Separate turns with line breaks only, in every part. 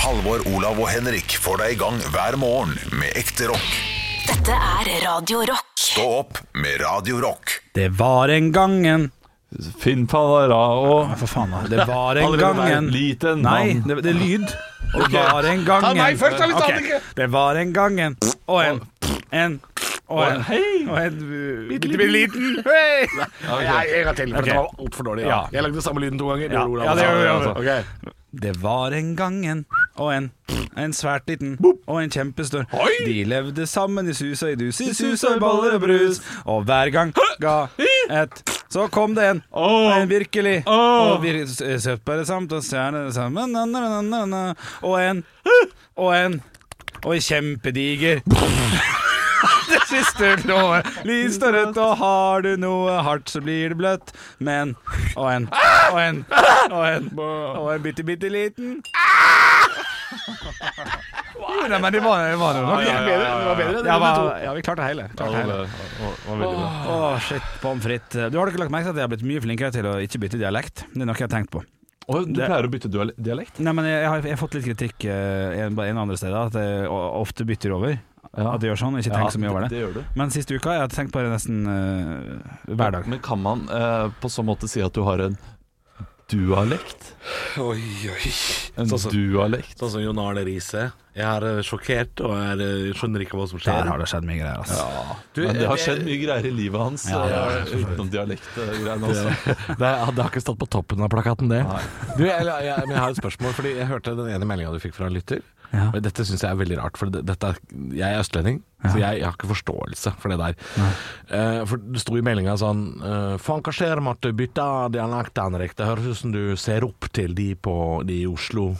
Halvor, Olav og Henrik får deg i gang hver morgen med ekte rock.
Dette er Radio Rock.
Stå opp med Radio Rock.
Det var en gangen
Finn Palarao
Nei, for faen da. Det var en
Aldri vært
gangen
liten
Nei,
mann.
det, det er lyd Og det var en gangen
meg først, da, hvis han
Ok.
ikke-
Det var en gangen Og en En Og en
Hei!
Og en Bitte bitte liten Hei
Jeg, jeg har til, for
Ok.
det var altfor dårlig. Ja.
Ja.
Jeg lagde samme lyden to ganger.
Ja.
gjorde Olav
Ja, det
også.
gjorde vi,
Ok.
Det var en gangen Og en En svært liten Og en kjempestor
Oi!
De levde sammen i sus og i dus I sus og i boller og brus Og hver gang Ga et Så kom det en
Åh.
En virkelig
Åh.
Og vi søtt bare samt Og stjerne sammen na, na, na, na, na. Og en Og en Og en kjempediger det siste låret Lyst og rødt Og har du noe hardt Så blir det bløtt Men Og en Og en Og en Og en bitte bitte liten Jo, nei, men det var, det var det nok
Det er bedre, det var bedre.
ja,
Det var,
men- ja, vi klarte hele, klarte hele. Åh, shit, pommes frites Du har ikke lagt merke til at jeg har blitt mye flinkere til Å ikke bytte dialekt Det er noe jeg har tenkt på
Du pleier å bytte dual- dialekt?
Nei, men jeg, jeg, har, jeg har fått litt kritikk eh, en, en andre steder At jeg o- ofte bytter over
Ja.
At jeg gjør sånn, ikke tenker så mye over det
Det gjør du.
Men siste uka Jeg har tenkt på det nesten eh, hver dag
Men kan man eh, på sånn måte si at du har en dualekt?
Oi, oi.
En
Sånn som-
dualekt?
Sånn som Jon Arne Riise. Jeg er eh, sjokkert og jeg er, eh, skjønner ikke hva som
Der
skjer.
har det skjedd mye greier altså.
Du,
Men det har
eh,
skjedd mye greier i livet hans
Ja, ja,
eh, utenom dialektgreiene også.
Det, det har ikke stått på toppen av plakaten, det. Du, jeg, jeg, jeg, men jeg har et spørsmål, fordi jeg hørte den ene meldinga du fikk fra en lytter.
Ja.
Og Dette syns jeg er veldig rart, for det, dette er, jeg er østlending, så jeg, jeg har ikke forståelse for det der. Eh, for Det sto i meldinga sånn eh, Faen, hva skjer med at du bytter dialekt, Henrik? Det høres ut som du ser opp til de, på, de i Oslo.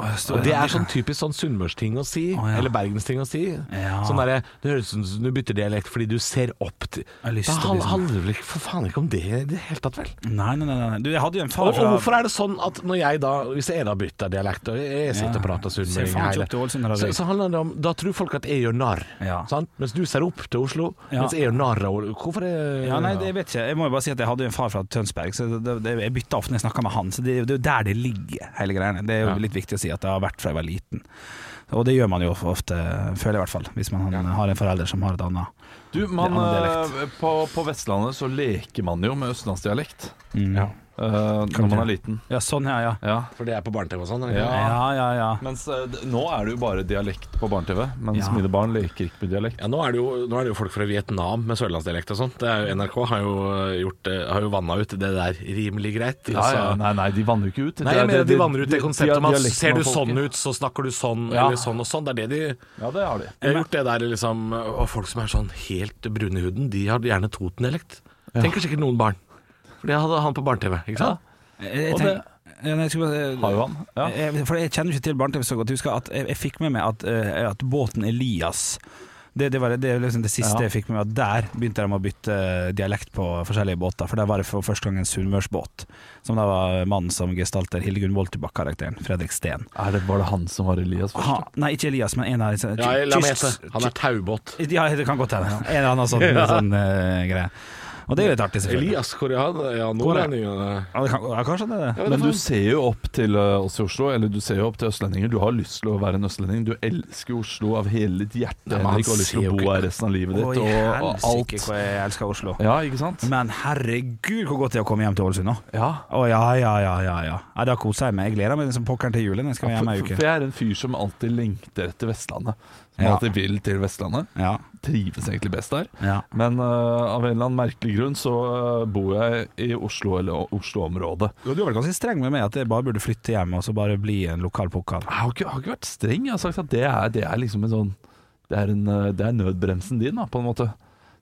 Og det er sånn typisk sånn sunnmørsting å si,
ja.
eller bergensting å si.
Ja.
Sånn derre Det høres ut som du bytter dialekt fordi du ser opp til liksom-
har lyst
Det
til å bli
handler
sånn.
handler vel ikke for faen ikke om det i det hele tatt, vel?
Nei, nei, nei, nei. Du, jeg hadde jo en
Og,
far
og hvorfor er det sånn at når jeg da Hvis jeg da bytter dialekt Og jeg sitter og prater
Ser
sunnmøring
faen ikke
hele-
opp til Ålesund eller
så,
Røyk.
så handler det om Da tror folk at jeg gjør narr
Ja.
sant? Mens du ser opp til Oslo
Ja.
Mens jeg gjør narr av Ol- Hvorfor er
Ja, nei, det, jeg vet ikke. Jeg må jo bare si at jeg hadde jo en far fra Tønsberg, så det, det, jeg bytta ofte når jeg snakka med han. Så det, det er jo der det ligger, hele greiene. Det er jo litt viktig å si at det har vært fra jeg var liten. Og det gjør man jo ofte, føler jeg i hvert fall, hvis man har en forelder som har et annet.
Du, man,
Annen
eh, på, på Vestlandet så leker man jo med østlandsdialekt
Ja.
eh, når man er liten.
Mm. ja, sånn ja, ja.
Ja.
For det er på barne-TV og sånn eller?
Ja.
Ja, ja, ja.
Mens eh, d- nå er det jo bare dialekt på barne-TV, mens
Ja.
mine barn leker ikke med dialekt.
Ja, nå er, det jo, nå er det jo folk fra Vietnam med sørlandsdialekt og sånt Det er jo- NRK har jo, gjort, eh, har jo vannet ut det der rimelig greit
Ja, ja,
altså.
nei, nei, de vanner jo ikke ut.
Nei, jeg mener de vanner ut det konseptet om at Ser du sånn
ut?
ut, så snakker du sånn
Ja.
Eller sånn og sånn Det er det de
Ja, det har de.
Jeg har gjort det der liksom Og folk som er sånn helt brune i huden, de har gjerne Toten-dialekt. Tenker sikkert noen barn. For det hadde han på barne-TV, ikke sant?
Jeg, jeg,
Og
tenk- ja, nei, jeg, skulle bare-
Har jo han. Ja.
jeg, for jeg kjenner ikke til barne-TV så godt. Jeg husker at jeg, jeg fikk med meg at, eh, at båten Elias det, det var det, det, er liksom det siste
Ja.
jeg fikk med meg. at Der begynte de å bytte eh, dialekt på forskjellige båter. For der var det for første gang en sunnmørsbåt, som da var mannen som gestalter Hildegunn Woltebakk-karakteren, Fredrik Steen.
Er det, var det han som var Elias først?
Ha, nei, ikke Elias, men en av disse
Ja, la meg
kyst-
gjette. Han er taubåt.
Ja, det kan godt hende. En eller annen sånn, sånn eh, greie. Og det er jo litt artig, selvfølgelig.
Elias Korean, ja, eh, nordlending ja.
Ja, det kan, ja, kanskje det er det.
Men du ser jo opp til eh, oss i Oslo, eller du ser jo opp til østlendinger. Du har lyst til å være en østlending. Du elsker Oslo av hele ditt hjerte.
Nei, men han
Henrik, og har lyst til
ser
å
jo
bo
ikke-
her resten av livet
Oi,
ditt og, og alt.
helsike, hvor jeg elsker Oslo.
Ja, ikke sant?
Men herregud, hvor godt det er å komme hjem til Ålesund nå.
Ja.
Å ja, ja, ja, ja, ja. ja da koser jeg meg. Jeg gleder meg som pokkeren til julen. Jeg skal være
For,
hjemme ei
for
uke.
jeg er en fyr som alltid lengter etter Vestlandet. Som
Ja.
alltid vil til Vestlandet.
Ja,
Trives egentlig best der.
ja.
Men eh, av en eller annen merkelig grunn så eh, bor jeg i Oslo eller o- Oslo-området.
Du har vært ganske streng med meg at jeg bare burde flytte hjem og så bare bli en lokal pokal.
Jeg har ikke, har ikke vært streng. Jeg har sagt at det er, det er liksom en sånn Det er, en, eh, det er nødbremsen din, da, på en måte.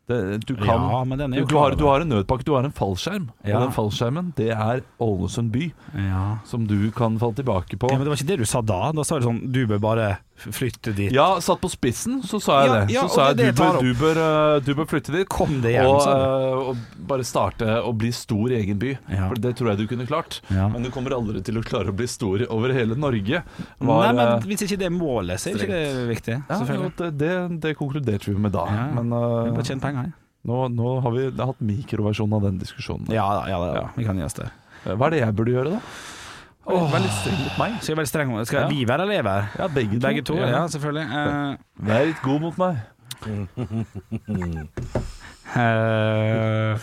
Det, du kan
Ja, men den er
du,
jo
du,
klar,
har, du har en nødpakke, du har en fallskjerm.
Ja.
Og den fallskjermen, det er Ålesund by,
Ja.
som du kan falle tilbake på.
ja,
Ja,
Men det var ikke det du sa da. Da sa du sånn Du bør bare f- flytte dit.
satt på spissen, så sa jeg
Ja,
det.
ja,
så sa
og
jeg
det er det
du, bør,
jeg tar
du, bør, eh, du bør flytte dit.
Kom deg hjem,
og,
sa du.
eh, og bare starte å bli stor i egen by.
Ja.
For det tror jeg du kunne klart.
Ja.
Men du kommer aldri til å klare å bli stor over hele Norge.
Nei,
Var, eh,
men hvis ikke det er målet, så er ikke det viktig.
ja, jo,
Selvfølgelig.
det, det, det konkluderte vi med da.
Ja.
Men
Jeg
eh,
Bare tjene penger, jeg.
nå, nå har vi hatt mikroversjonen av den diskusjonen. Eh,
Ja da, ja da. Vi kan gi oss det.
Hva er det jeg burde gjøre, da? Vær litt streng mot meg.
Skal jeg være streng? Skal jeg
Ja.
live her eller leve her?
Ja, begge to.
Begge to, ja, selvfølgelig. Eh,
Vær litt god mot meg.
Eh,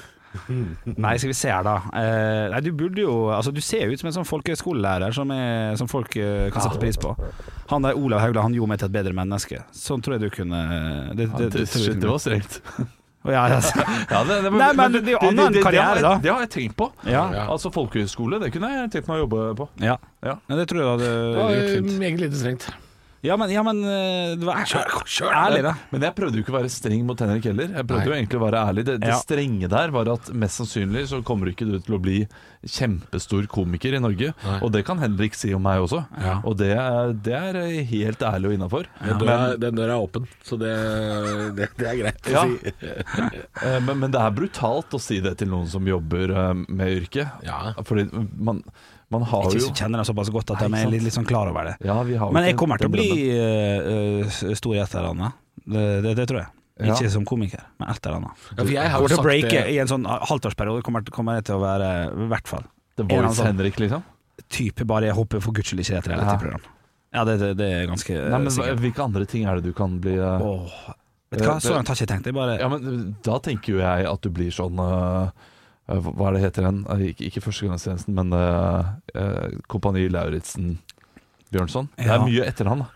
nei, skal vi se her, da. Eh, nei, du burde jo Altså, du ser jo ut som en sånn folkeskolelærer som, er, som folk eh, kan sette pris på. Han der Olav Haugland, han gjorde meg til et bedre menneske. Sånn tror jeg du kunne Det,
Ja, det,
tror jeg
shit,
du
det
kunne-
var strengt.
Å, ja, altså.
Ja, det, det var-
Nei, men det er jo annen
det- det-
karriere,
det har jeg-
da.
Det har jeg tenkt på.
ja,
Ja.
Altså folkehøyskole, det kunne jeg tenkt meg å jobbe på.
ja.
Ja.
Men det tror jeg du
Det
hadde
var
gjort
eh,
fint.
meget lite strengt.
Ja, men, ja, men eh, det var ærlig,
Men-
ærlig da.
Eh, Men jeg prøvde jo ikke å være streng mot Henrik heller. Jeg prøvde
Nei.
jo egentlig å være ærlig. Det, det
Ja.
strenge der var at mest sannsynlig så kommer ikke du til å bli kjempestor komiker i Norge.
Nei.
Og det kan Henrik si om meg også.
Ja.
Og det, er- det er eh, helt ærlig og innafor.
Den døra, den døra er åpen, så det, det, det er greit å
Ja.
si.
Eh, Men, men det er brutalt å si det til noen som jobber eh, med yrket.
Ja.
Fordi man, man har
Jeg
jo
syns du kjenner deg såpass godt at
Nei,
de
ikke
er
sant?
litt, litt sånn klar over det.
ja, vi har jo
Men
ikke
jeg kommer til å
den
bli
drømmen.
eh, eh, stor i et eller annet. Det, det, det tror jeg.
Ja.
Ikke som komiker, men et eller annet.
Ja, for jeg har jo
Kommer til å
sagt
breake
det-
i en sånn halvtårsperiode. Kommer, kommer jeg til å være i hvert fall
The
en eller
Voice
annen
Henrik, liksom.
type, bare jeg håper for guds skyld ikke det er et realityprogram. Ja, det, det, det er ganske
Nei, men hva-
sikkert.
Hvilke andre ting er det du kan bli eh,
Åh, vet du hva, så langt har jeg ikke tenkt. Jeg bare
Ja, men da tenker jo jeg at du blir sånn øh, øh, Hva er det heter den? Eh, Ikke, ikke førstegangstjenesten, men øh, øh, Kompani Lauritzen Bjørnson. Det
Ja.
er mye etter han. da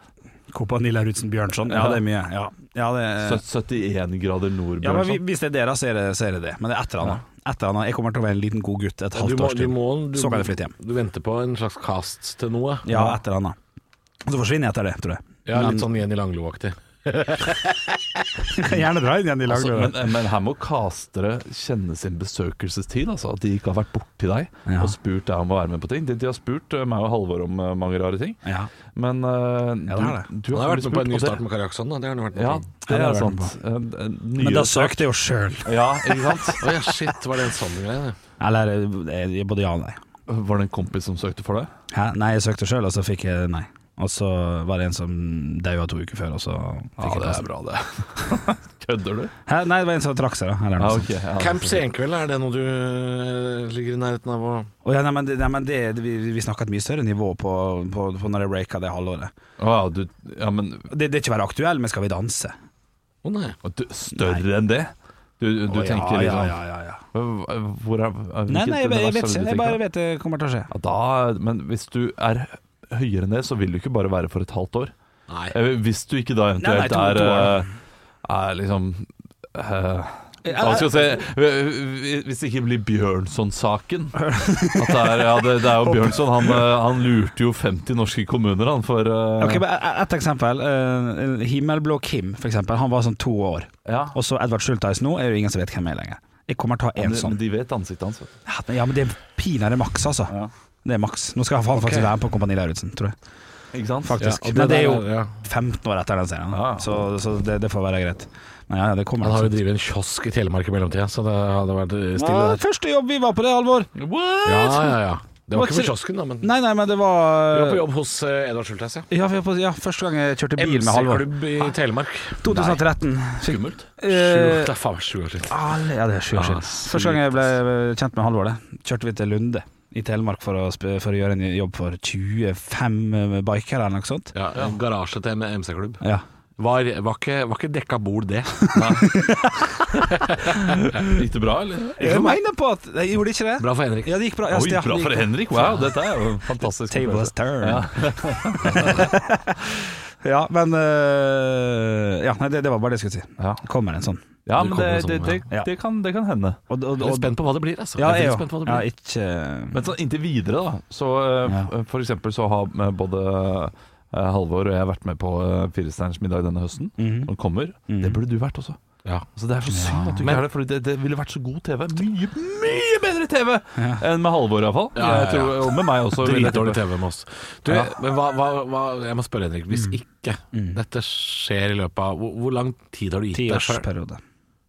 Kompani Lauritzen Bjørnson. Ja, det er mye. Ja, ja det
Sø- 71 grader sånn. nord,
Eh. ja, men vi-
Bjørnson.
Hvis det er dere, så er det, så er det det. Men det er et eller annet. Et eller annet. Jeg kommer til å være en liten god gutt et
Du
halvt
må,
års
du,
tid.
må, du,
Så kan jeg flytte hjem.
Du venter på en slags cast til noe.
Ja, et eller annet. Og så forsvinner jeg etter det, tror jeg.
Ja,
Men-
Litt sånn Jenny Langlo-aktig.
Gjerne dra inn igjen i
Altså, men, men her må castere kjenne sin besøkelsestid, altså. At de ikke har vært borti deg
Ja.
og spurt deg om å være med på ting. De, de har spurt øh, meg og Halvor om øh, mange rare ting,
ja.
men øh,
Ja, det er
du, du
Han har vært
aldri
med på en
spurt,
ny
og det-
start med Kari Jaksson, da. Det har han jo vært med
Ja,
på.
det
Ja,
er
det har
sant.
vært
Eh, eh,
Men
nye
da
start.
søkte jeg jo sjøl.
Ja, ikke sant?
Å ja, shit, var det en sånn greie? det?
Eller eh, både ja og nei.
Var det en kompis som søkte for deg?
Hæ? Nei, jeg søkte sjøl, og så fikk jeg nei. Og så var det en som daua to uker før, og så fikk jeg plassen.
bra, det. Kødder du?
Hæ? Nei, det var en som trakk seg, da. Eller
Ja,
noe
ok.
sånt.
Ja,
Camp Senkveld, er det noe du eh, ligger i nærheten av å
Å, ja, nei, men, det- nei, men det, det, vi, vi snakka et mye større nivå på, på, på når jeg breaka det halvåret.
Å, ja, du, ja men
Det, det er ikke å være aktuell, men skal vi danse?
Å nei.
du, større enn det? Du, du
Å, ja,
tenker
ja,
liksom
ja, ja, ja.
Hv- Hvor er hvilket
Nei, nei, jeg, jeg, vet
univers er det
ikke.
du
Jeg
tenker
bare
på?
vet det kommer til å skje.
ja, da, Men hvis du er høyere enn det, så vil du ikke bare være for et halvt år.
Nei.
Eh, Hvis du ikke da
Nei, nei,
eventuelt
to- to år.
er, eh, er liksom eh,
Ja,
Hva skal jeg si Hvis det ikke blir Bjørnson-saken At det er, ja, det, det er jo Bjørnson han, eh, han lurte jo 50 norske kommuner han for eh,
Ok, men et- Et eksempel. eh, Himmelblå Kim, for eksempel. Han var sånn to år.
ja.
Og så Edvard Schultheis nå er det jo ingen som vet hvem er lenger. Jeg kommer til å ha
Men
en
de-
sånn.
men de vet ansiktet hans. vet du.
Ja, men- Ja, men det er pinadø maks, altså.
Ja.
Det er maks. Nå skal han faktisk være med på Kompani Lauritzen, tror jeg.
Ikke sant?
Faktisk.
Ja, og
Men det er jo
der ja.
15 år etter den serien,
Ja.
så, så det, det får være greit. Men ja, ja, det kommer.
Han har jo
Altså.
drevet en kiosk i Telemark i mellomtida, så det hadde vært eh, stille
Ja,
der.
første jobb vi var på det, Halvor.
Ja, ja, ja. Det var ikke på
What's-
kiosken, da, men
Nei, nei, men det
Vi var
var
på jobb hos eh, Edvard Schultheis, ja.
ja, vi var på, ja, første gang jeg kjørte bil med Halvor.
MC-klubb i Telemark.
2013. Fikk,
Skummelt.
Sju-
eh,
Det er faen meg sju år siden.
alle- ja, det er sju år
Ja,
siden. Første gang jeg ble kjent med Halvor, det kjørte vi til Lunde i Telemark for å, sp- for å gjøre en jobb for 25 bikere eller noe sånt.
Ja, en Garasje til en MC-klubb.
Ja.
Var, var, ikke, var ikke dekka bord, det.
Gikk det bra, eller?
Jeg mener på at Jeg gjorde ikke det.
Bra for Henrik.
Ja, det gikk bra. Ja,
Oi,
Stian,
bra
det
for
gikk-
Henrik. Wow, dette er jo en fantastisk.
Table
opplevelse.
has turned.
Ja.
Ja, men øh, Ja, nei, det, det var bare det jeg skulle si.
Ja.
Kommer en sånn.
Ja,
Du
men
kommer
det,
med
det,
sånn,
det,
ja.
det, kan, det kan hende.
Og, og,
Jeg er
og,
litt spent på hva det blir, altså.
ja,
jeg er
jeg
veldig spent på
òg.
hva
Ja,
det blir.
ikke
Men sånn inntil videre, da, så eh,
Ja.
f- for eksempel så har eh, både eh, Halvor og jeg vært med på eh, Firestjerners middag denne høsten.
Mhm.
Som kommer. Det burde du vært også.
Ja.
Altså, det er så synd at du ikke
Men-
er det, Fordi det, det ville vært så god TV. Mye, mye bedre TV enn med Halvor, iallfall.
Ja, ja, ja.
Og med meg også. vil jeg
Dritdårlig
tippe.
TV med oss. Du,
Ja.
men hva, hva, hva Jeg må spørre, Henrik. Hvis
Mm.
ikke dette skjer i løpet av Hvor, hvor lang tid har du gitt deg selv
Tiårsperiode.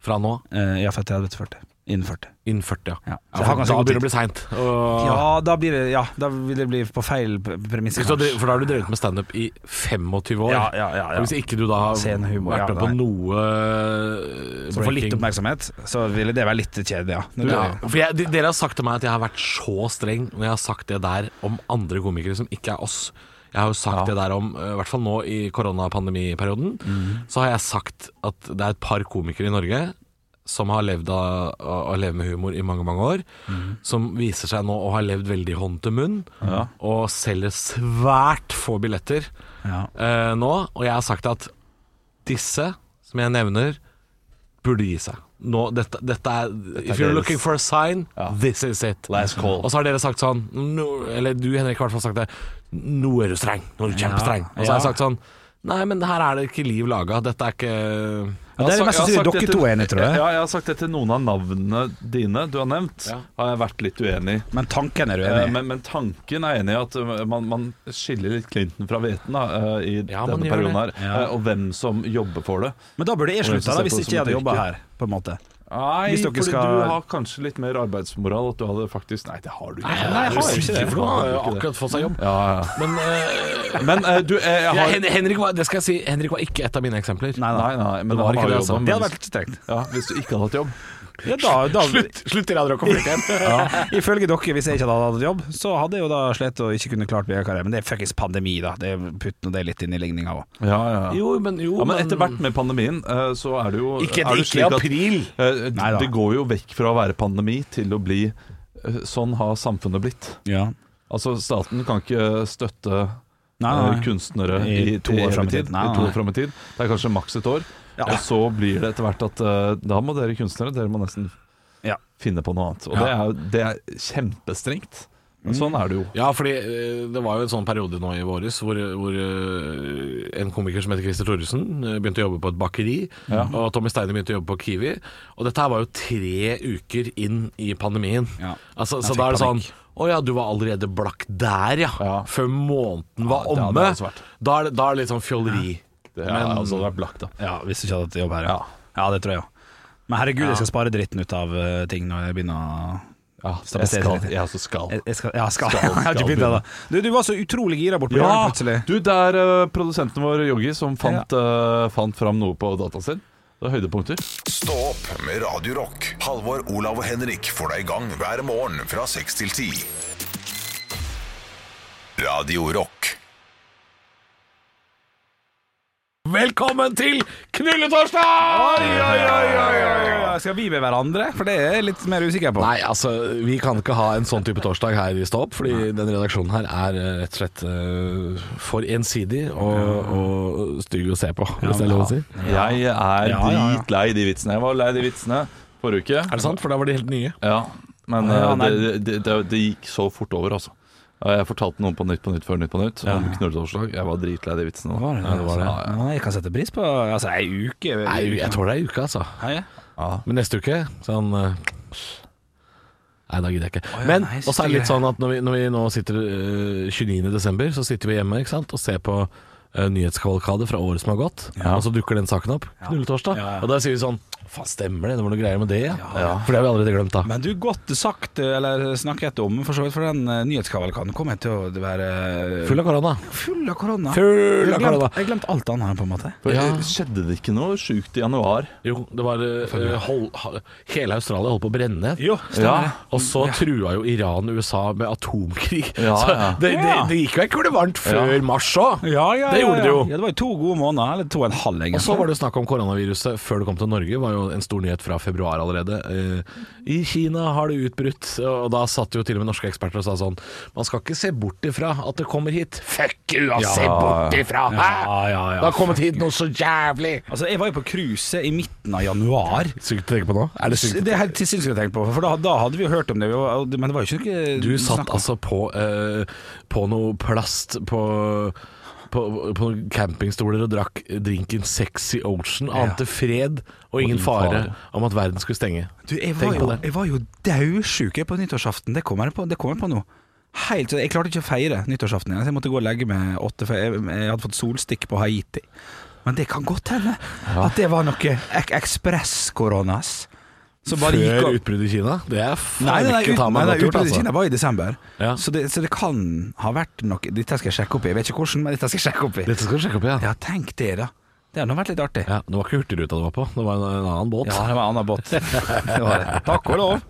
fra nå?
Uh, Eh, ja, fra 30 til 40. Innen 40.
Innen 40,
Ja.
ja.
Så jeg har
for
ganske
da
god
begynner det å
tid.
bli seint.
Ja, da blir det Ja, da vil det bli på feil p- premisser.
For
kanskje.
da har du drevet med standup i 25 år.
Ja, ja, ja,
Og
ja.
Hvis ikke du da har
Sen humor,
vært
ja,
med på eh,
nei.
noe
Så for litt oppmerksomhet, så ville det være litt kjedelig, ja. Når
Ja,
du-
for jeg, de, Dere har sagt til meg at jeg har vært så streng når jeg har sagt det der om andre komikere som ikke er oss. Jeg har jo sagt det der om, eh, i hvert fall nå i koronapandemiperioden,
Mhm.
så har jeg sagt at det er et par komikere i Norge som har levd av, av å leve med humor i mange, mange år.
Mhm.
Som viser seg nå å ha levd veldig hånd til munn, og selger svært få billetter
Ja.
eh, nå. Og jeg har sagt at disse, som jeg nevner, burde gi seg. Nå, dette, dette er If you're
deres.
looking for a sign,
Ja.
this is it.
Last call.
Og så har dere sagt sånn no, Eller du, Henrik, har i hvert fall sagt det. Nå er du streng. Nå er du kjempestreng. Og så har jeg
Ja.
sagt sånn Nei, men her er det ikke liv laga. Dette er ikke
Ja, det er det
Jeg har
mest
sagt- jeg har
sannsynlig
sagt
dere to er enige, tror jeg.
Ja, jeg har sagt det til noen av navnene dine du har nevnt,
Ja.
har jeg vært litt uenig i.
Men tanken er du
Eh,
enig i?
Men, men tanken er enig i at eh, man, man skiller litt Clinton fra hveten da, eh, i
Ja, man
denne
gjør
perioden her,
det.
Ja.
eh, og hvem som jobber for det.
Men da burde jeg
Og jeg
slutta, da,
ser
hvis
på det
ikke
som
jeg hadde
et
jobba
yrke.
her, på en måte.
Nei,
Hvis dere
fordi
skal-
du har kanskje litt mer arbeidsmoral. At du hadde faktisk Nei, det har du ikke.
Nei, jeg har ikke det. For nå har jeg
Har du ikke det?
akkurat fått seg jobb.
Ja, ja.
Men eh,
Men eh, du, eh, jeg
ja,
har
Hen- Henrik, var, det skal jeg si, Henrik var ikke et av mine eksempler.
Nei,
Nei, nei, men han
var ikke
har
det,
jo
altså.
jobba.
Det hadde
men-
vært litt strengt.
Ja, hvis du ikke hadde hatt jobb.
Ja, da, da,
slutt dere andre å konflikte.
Ifølge dere, hvis jeg ikke hadde hatt jobb, så hadde jeg jo da slitt og ikke kunne klart VG-karriere. Men det er fuckings pandemi, da. Det Putt nå det litt inn i ligninga òg.
Ja, ja.
Jo, men, jo,
Ja, men etter hvert med pandemien, eh, så er det jo
Ikke,
er det slik
ikke i
at-
april.
Eh,
Nei da.
Det går jo vekk fra å være pandemi til å bli eh, Sånn har samfunnet blitt.
Ja.
Altså Staten kan ikke eh, støtte
Nei,
eh,
nei.
kunstnere i,
I to år
evig
frem i
tid.
tid. Nei,
I to
nei.
år frem i tid. Det er kanskje maks et år.
Ja.
Og så blir det etter hvert at eh, da må dere kunstnere Dere må nesten
Ja.
finne på noe annet. Og det,
Ja.
er, jo- det er kjempestrengt. Men sånn er det jo.
Ja, fordi eh, det var jo en sånn periode nå i våres hvor, hvor eh, en komiker som heter Christer Thoresen eh, begynte å jobbe på et bakeri, og Tommy Steine begynte å jobbe på Kiwi. Og dette her var jo tre uker inn i pandemien.
Ja.
Altså,
Jeg
så da
fikk
er det sånn
panikk.
Å ja, du var allerede blakk der, ja.
Ja.
Før måneden
Ja,
var
det hadde
omme.
også vært.
Da er det, da er det litt sånn fjolleri.
Det er,
Men-
altså, det er blakt, da.
ja, hvis du ikke hadde hatt jobb her. Ja, ja det tror jeg òg. Men herregud, jeg skal spare dritten ut av eh, ting når jeg begynner å
Ja,
Skal
jeg
se
skal.
litt.
Jeg også skal.
jeg, jeg skal, Ja, skal. jeg har ikke begynt ennå. Du, du var så utrolig gira bortpå ja.
Ja!
plutselig.
Du, det er eh, produsenten vår, Joggi, som fant, eh, fant fram noe på dataen sin. Det er høydepunkter.
Stå opp med Radio Rock. Halvor, Olav og Henrik får deg i gang hver morgen fra 6 til 10. Radio Rock.
Velkommen til knulletorsdag!
Ja, Skal vi med hverandre? For det er jeg litt mer usikker på.
Nei, altså, vi kan ikke ha en sånn type torsdag her i Stå opp, fordi den redaksjonen her er eh, rett og slett eh, for ensidig og, og stygg å se på, hvis det er lov å si.
Jeg er
Ja, ja, ja.
dritlei de vitsene. Jeg var lei de vitsene forrige uke.
Er det sant? For da var de helt nye.
Ja, men
Nei, ja,
eh,
nei.
det, det, det, det gikk så fort over, altså. Ja, Jeg fortalte noen på Nytt på Nytt før Nytt på Nytt om knulletorsdag. Jeg var dritlei de vitsene. da.
Var det det?
Ja, det var det.
Ja, ja, jeg kan sette pris på Altså, ei uke
Nei, jeg tåler ei uke, altså.
Hei, ja.
Men neste uke, sånn eh, Nei, da gidder jeg ikke.
ja,
Men
nei,
også er det litt
stygge.
sånn at når vi, når vi nå sitter eh, 29. desember, så sitter vi hjemme ikke sant? og ser på eh, nyhetskavalkade fra året som har gått, og så dukker den saken opp. Knulletorsdag.
Ja, ja.
Og da sier vi sånn Faen, stemmer det? Det var noe greier med det, ja. For det har vi allerede glemt, da.
Men du, godt sagt, eller snakket om, for så vidt, for den eh, nyhetskavalkaden kommer jeg til å være eh,
Full av korona.
full av korona.
Full
Jeg
av
har
korona.
glemt, jeg glemt alt annet her, på en måte.
For,
Ja.
eh, Skjedde det ikke noe sjukt i januar?
Jo, det var eh, hold, ha- Hele Australia holdt på å brenne.
Jo,
Ja.
stemmer det.
Og så trua jo Iran USA med atomkrig.
Ja,
så
ja.
det, det,
Ja.
det gikk jo en kule varmt før
Ja.
mars òg.
Ja, ja, ja,
Det gjorde
ja.
det jo.
Ja, det var jo to gode måneder, eller to og en halv, egentlig.
Og så var det jo snakk om koronaviruset før det kom til Norge. Det var jo en stor nyhet fra februar allerede. Eh, I Kina har det utbrutt, og da satt jo til og med norske eksperter og sa sånn Man skal ikke se bort ifra at det kommer hit. Fuck you, ja. se bort ifra! Hæ?
Ja, ja, ja.
Det har kommet hit noe så jævlig!
Altså, jeg var jo på cruise i midten av januar.
Sykt å tenke på nå. Er det sykt?
Det er helt sinnssykt å tenke på, for da, da hadde vi jo hørt om det, vi var- men det var jo ikke noe
Du satt
snakk om-
altså på, eh, på noe plast på på, på noen campingstoler og drakk drinken Sexy Ocean. Ante fred og ingen fare
fare.
om at verden skulle stenge.
Du, jeg var
Tenk på
jo,
det.
jeg var jo daudsjuk jeg, på nyttårsaften. Det kommer jeg på, det kom jeg på nå. Helt, jeg klarte ikke å feire nyttårsaften igjen. så Jeg måtte gå og legge meg åtte, for jeg, jeg hadde fått solstikk på Haiti. Men det kan godt hende at det var noe ek ekspress-koronas. Så bare gikk
Før
og-
utbruddet i Kina? Det er faen
Nei, nei, nei,
ikke
ut,
å ta
nei,
meg
nei
godt gjort,
utbruddet i
altså.
Kina var i desember.
Ja.
Så, det, så det kan ha vært noe Dette skal jeg sjekke opp i. Jeg vet ikke hvordan, men dette skal jeg sjekke opp i.
Dette skal du sjekke opp, ja.
Ja, tenk det, da. Det hadde nå vært litt artig.
ja. Det var ikke Hurtigruta det var på, det var en, en annen båt.
Ja, det var en annen båt. Det var det. Takk og lov.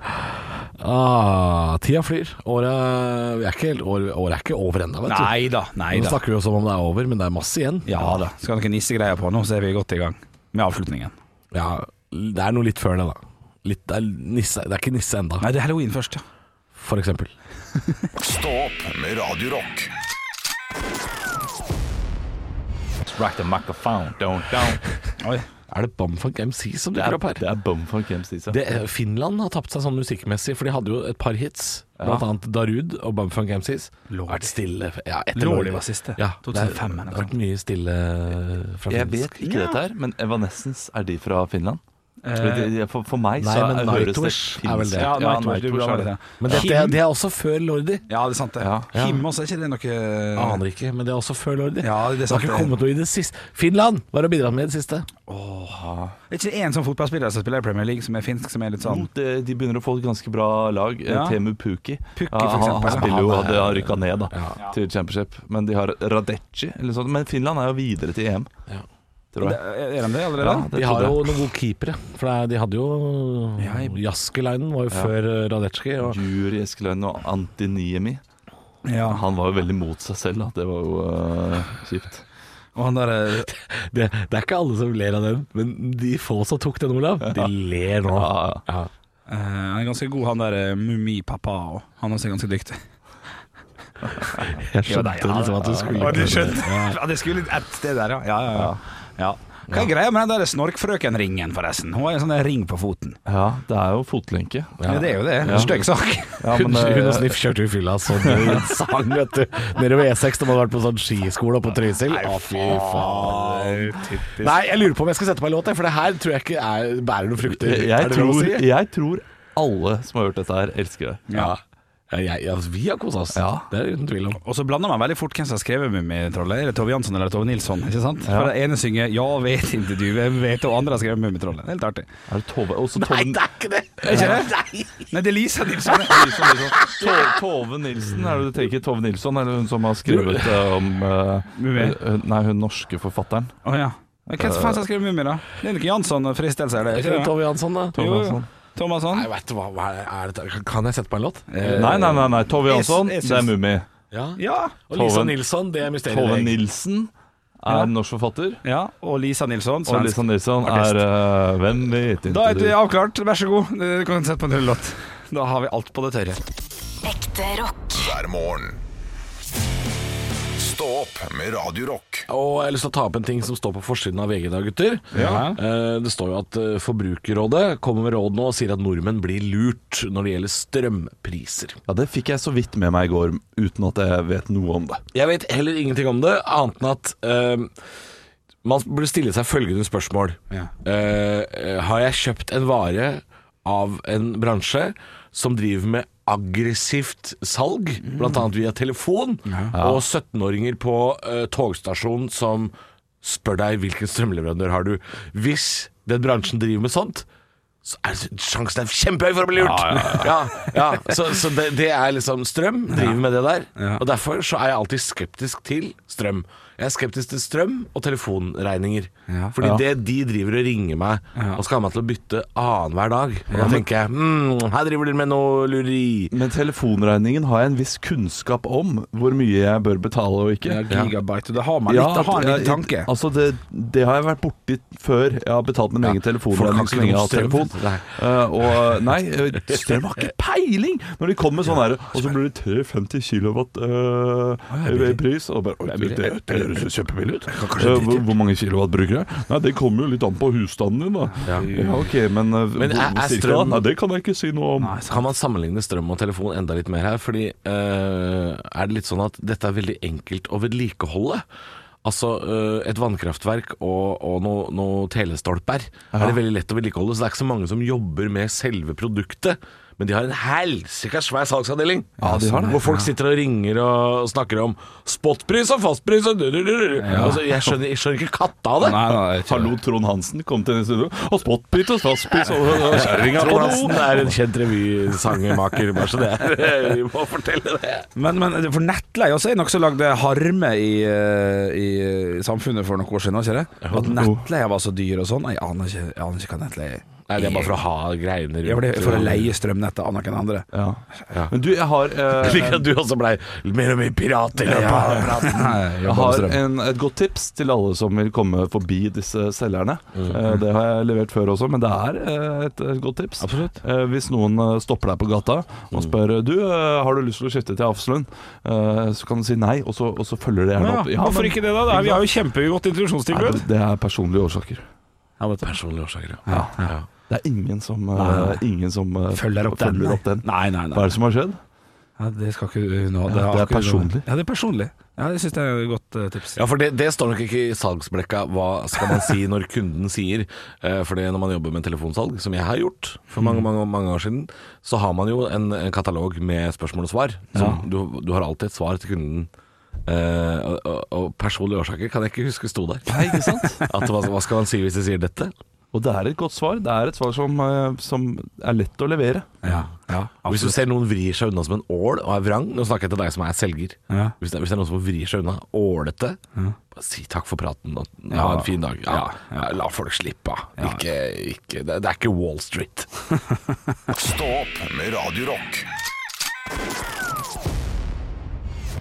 Ah, tida flyr. Året vi er ikke, helt- år, året er ikke over ennå, vet du.
Nei da, nei
Nå
da.
snakker vi jo som om det er over, men det er masse igjen.
Ja da. Skal ha noen nissegreier på nå, så er vi godt i gang med avslutningen.
Ja, det er noe litt før det, da. Litt, det, er nisse, det er ikke nisse enda,
Nei, det er halloween først, ja.
for eksempel.
Stå opp med Radio Rock.
Rack the microphone, don't, don't.
Oi.
Er det Bamfunk MC som
Det er,
dukker opp her?
det er Bumfunk MC.
Det, eh, Finland har tapt seg sånn musikkmessig, for de hadde jo et par hits. Blant annet Darud og Bamfunk MCs.
Lordi.
Vært stille ja, etter
Lordi
Lordi.
var siste.
Ja,
2005
det
eller
har
noe
vært mye stille fra
Jeg
finsk.
vet ikke dette her, men Evanescence, er de fra Finland? Eh, Fordi de- For, for meg
nei,
så
men
høres det
Nightwish er
finsk-
vel det.
Eh, Ja,
Ja,
Nightwish, du
Nightwish
blander
er det.
det.
Men det, det,
Kim-
det er også før Lordi.
Ja, det er sant det.
Ja.
Kim også, er ikke det noe
Aner ikke, men det er også før Lordi.
Ja, det er sant,
har ikke
det.
kommet noe i det siste. Finland! Hva har du bidratt med i det siste?
Er ikke det en sånn fotballspiller som spiller i Premier League, som er finsk, som er litt
Mm.
sånn
Jo, det, de begynner å få et ganske bra lag. Eh,
Ja.
Temu Puki.
Pukki,
Ja,
for
han,
eksempel.
han spiller jo
Ja, han er-
hadde rykka ned da,
Ja.
til Championship. Men de har Radecci eller sånt. Men Finland er jo videre til EM,
Ja.
tror jeg.
Er er de det allerede?
Ja,
De
det
har
trodde
jo
jeg.
noen gode keepere. For det er- de hadde jo
Ja, i-
Jaskelainen var jo før Radetsjki. Og
Juri Eskeløyen og Antiniemi.
Ja,
Han var jo veldig mot seg selv, da. Det var jo eh, kjipt.
og han der eh,
det, det er ikke alle som ler av den, men de få som tok den, Olav, de ler nå.
Ja, ja.
Ja.
Eh, han er ganske god, han der uh, Mummi-pappa òg. Han også er ganske dyktig.
Jeg
Ja, da,
skjønte
ja,
liksom at du skulle
Ja, du
klare det.
skjønte. Ja, det skulle litt ett sted der, ja. Ja, ja, ja. ja. Hva er greia med den der snorkfrøken-ringen, forresten? Hun har en sånn der ring på foten.
Ja, det er jo fotlenke.
Ja. Det er jo det.
Ja.
Stygg sak.
Ja,
Hun,
men, eh,
hun og Sniff kjørte jo i fylla sånn i en sang, vet du. Nede ved E6, de hadde vært på sånn skiskole oppe på Trysil. Å, fy faen. Nei, jeg lurer på om jeg skal sette på en låt, jeg, for det her tror jeg ikke er, bærer noen frukter.
jeg,
Er
jeg,
det lov å
tror,
si?
jeg tror alle som har hørt dette her, elsker det.
Ja. Ja, jeg, ja, vi har kosa oss.
Ja.
Det er det uten tvil om.
Og så blander man veldig fort hvem som har skrevet Mummitrollet. Er det Tove Jansson eller Tove Nilsson? Ikke sant? For den ene synger 'Ja, vet ikke du, hvem vet', og andre har skrevet Mummitrollet. Helt artig.
Er det Tove? Også Tove
er ikke det!
Nei, det er Lisa Nilsson.
Nilsson, Nilsson. To- Tove Nilsen, er det du tenker? Tove Nilsson, eller hun som har skrevet eh, om eh,
Mummi.
hun- Nei, hun norske forfatteren.
Å ja. Hvem faen som har skrevet Mummi, da? Det er ikke Jansson og Fristelse, er det?
Er
Ikke
det
det?
Tove Jansson, da?
Jo, jo.
Jansson.
Thomasson?
Nei, vet du hva, hva er det, er dette- Kan jeg sette på en låt?
Eh,
Nei, nei, nei, nei. Tove Jansson,
jeg- jeg
det er
syns-
Mummi.
Ja.
Ja.
Og Lisa
Tove-
Nilsson, det er mysteriet.
Tove
jeg.
Nilsen er
Ja.
norsk forfatter.
ja. Og Lisa Nilsson,
Og
svensk.
Lisa Nilsson
Artist.
er eh, Hvem vet
Da
ikke
er det
du?
avklart. Vær så god. Du kan sette på en rullelåt. Da har vi alt på det tørre.
Ekte rock.
hver morgen. Stå opp med Radio Rock.
Og jeg har lyst til å ta opp en ting som står på forsiden av VG i dag, gutter.
Ja.
Eh, Det står jo at eh, Forbrukerrådet kommer med råd nå og sier at nordmenn blir lurt når det gjelder strømpriser.
Ja, det fikk jeg så vidt med meg i går, uten at jeg vet noe om det.
Jeg vet heller ingenting om det, annet enn at eh, man burde stille seg følgende spørsmål.
Ja.
Eh, eh, har jeg kjøpt en vare av en bransje som driver med aggressivt salg, blant annet via telefon, og 17-åringer på eh, togstasjon som spør deg hvilken strømleverandør har du. Hvis den bransjen driver med sånt, så er sjansen er kjempehøy for å bli lurt. Ja, ja, Så, så det, det er liksom strøm, driver med det der. Og derfor så er jeg alltid skeptisk til strøm. Jeg er skeptisk til strøm og telefonregninger. Fordi det de driver og ringer meg og skal ha meg til å bytte annenhver dag. Og da tenker jeg mm, her driver de med noe lureri.
Men telefonregningen har jeg en viss kunnskap om hvor mye jeg bør betale og ikke.
Gigabyte. Og det har man litt. Det har en liten
ja,
tanke.
Altså det, det har jeg vært borti før. Jeg har betalt min egen
folk har
telefonregning
ikke
så lenge jeg har hatt
noe strøm.
telefon.
Nei.
Eh, og nei, eh, strøm har ikke peiling! Når de kommer sånn her, og så blir det 350 kilowatt eh, pris. Og bare, «Oi, det, det, det høres jo kjempebillig ut. Eh, hvor, hvor mange kilowatt bruker jeg? Nei, det kommer jo litt an på husstanden din, da. Ja, ok, men, eh,
Men er-
hvor,
er
cirka,
strøm-
da? Nei, det kan jeg ikke si noe om.
Kan man sammenligne strøm og telefon enda litt mer her? Fordi eh, er det litt sånn at dette er veldig enkelt å vedlikeholde? Altså eh, et vannkraftverk og, og noen noe telestolper er det veldig lett å vedlikeholde, så det er ikke så mange som jobber med selve produktet. Men de har en helsika svær salgsavdeling.
Ja, de har det.
Hvor folk sitter og ringer og snakker om spotpris og fastpris og du-du-du-du. altså, jeg, skjønner, jeg skjønner ikke katta av det.
Nei, nei, jeg tror
Hallo, Trond Hansen, kom til denne studio. Og spottpris og fastpris og og kjerringa på
Trond Hansen
do!
er en kjent revysangmaker, bare så det er Vi må fortelle det.
Men, men for nettleie også er nokså lagd harme i, eh, i samfunnet for noen år siden. Ikke det? At nettleie var så dyr og sånn. Jeg aner ikke, jeg aner ikke hva nettleie er.
Nei, det er bare for å ha greiene rundt
Ja, for det er for å leie strømnettet av noen andre.
Ja. Men du, jeg har,
Jeg
eh,
liker at du også blei mer og mer pirat i løpet av praten.
jeg har en, et godt tips til alle som vil komme forbi disse selgerne.
Mm.
Eh, det har jeg levert før også, men det er eh, et, et godt tips.
Absolutt.
Eh, hvis noen eh, stopper deg på gata
Mm.
og spør Du, eh, har du lyst til å skifte til Hafslund? Eh, så kan du si nei, og så, og så følger det gjerne
Ja,
opp.
Hvorfor
men-
ikke det, da? Det er- Vi har jo kjempegodt
Nei,
introduksjonstilbud.
det, det er personlige årsaker.
Personlige årsaker,
Ja. Det er ingen som, eh, ingen som eh,
Følger opp den.
følger opp den.
Nei, nei, nei.
Hva er det som har skjedd?
Ja, det skal ikke du nå. har
Ja, det er
ikke du nå.
personlig.
Ja, det er personlig. Ja, det syns jeg er et godt eh, tips.
Ja, for det, det står nok ikke i salgsblekka hva skal man si når kunden sier. Eh, For det når man jobber med telefonsalg, som jeg har gjort for mange mange, mange år siden, så har man jo en, en katalog med spørsmål og svar. Som du, du har alltid et svar til kunden. Eh, og, og, og personlige årsaker kan jeg ikke huske sto der.
Nei, ikke sant?
At hva, hva skal man si hvis de sier dette?
Og det er et godt svar. Det er et svar som, eh, som er lett å levere.
Ja, ja,
Og Hvis du ser noen vrir seg unna som en ål og er vrang Nå snakker jeg til deg som er selger.
Ja.
Hvis, det, hvis det er noen som vrir seg unna, ålete, bare si takk for praten og ha en fin dag. Ja, ja, La folk slippe av. Ikke, ikke, det, det er ikke Wall Street.
Stå opp med Radio Rock.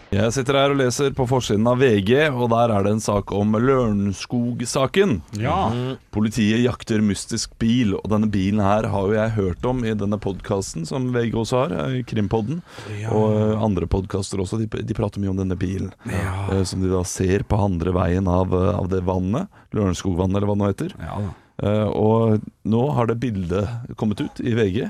Jeg sitter her og leser på forsiden av VG, og der er det en sak om Lørenskog-saken. Politiet jakter mystisk bil, og denne bilen her har jo jeg hørt om i denne podkasten som VG også har, eh, Krimpodden. Og eh, andre podkaster også, de, de prater mye om denne bilen. eh, Som de da ser på andre veien av, eh, av det vannet, Lørenskogvannet eller hva det nå heter.
Ja da.
Eh, og nå har det bildet kommet ut i VG,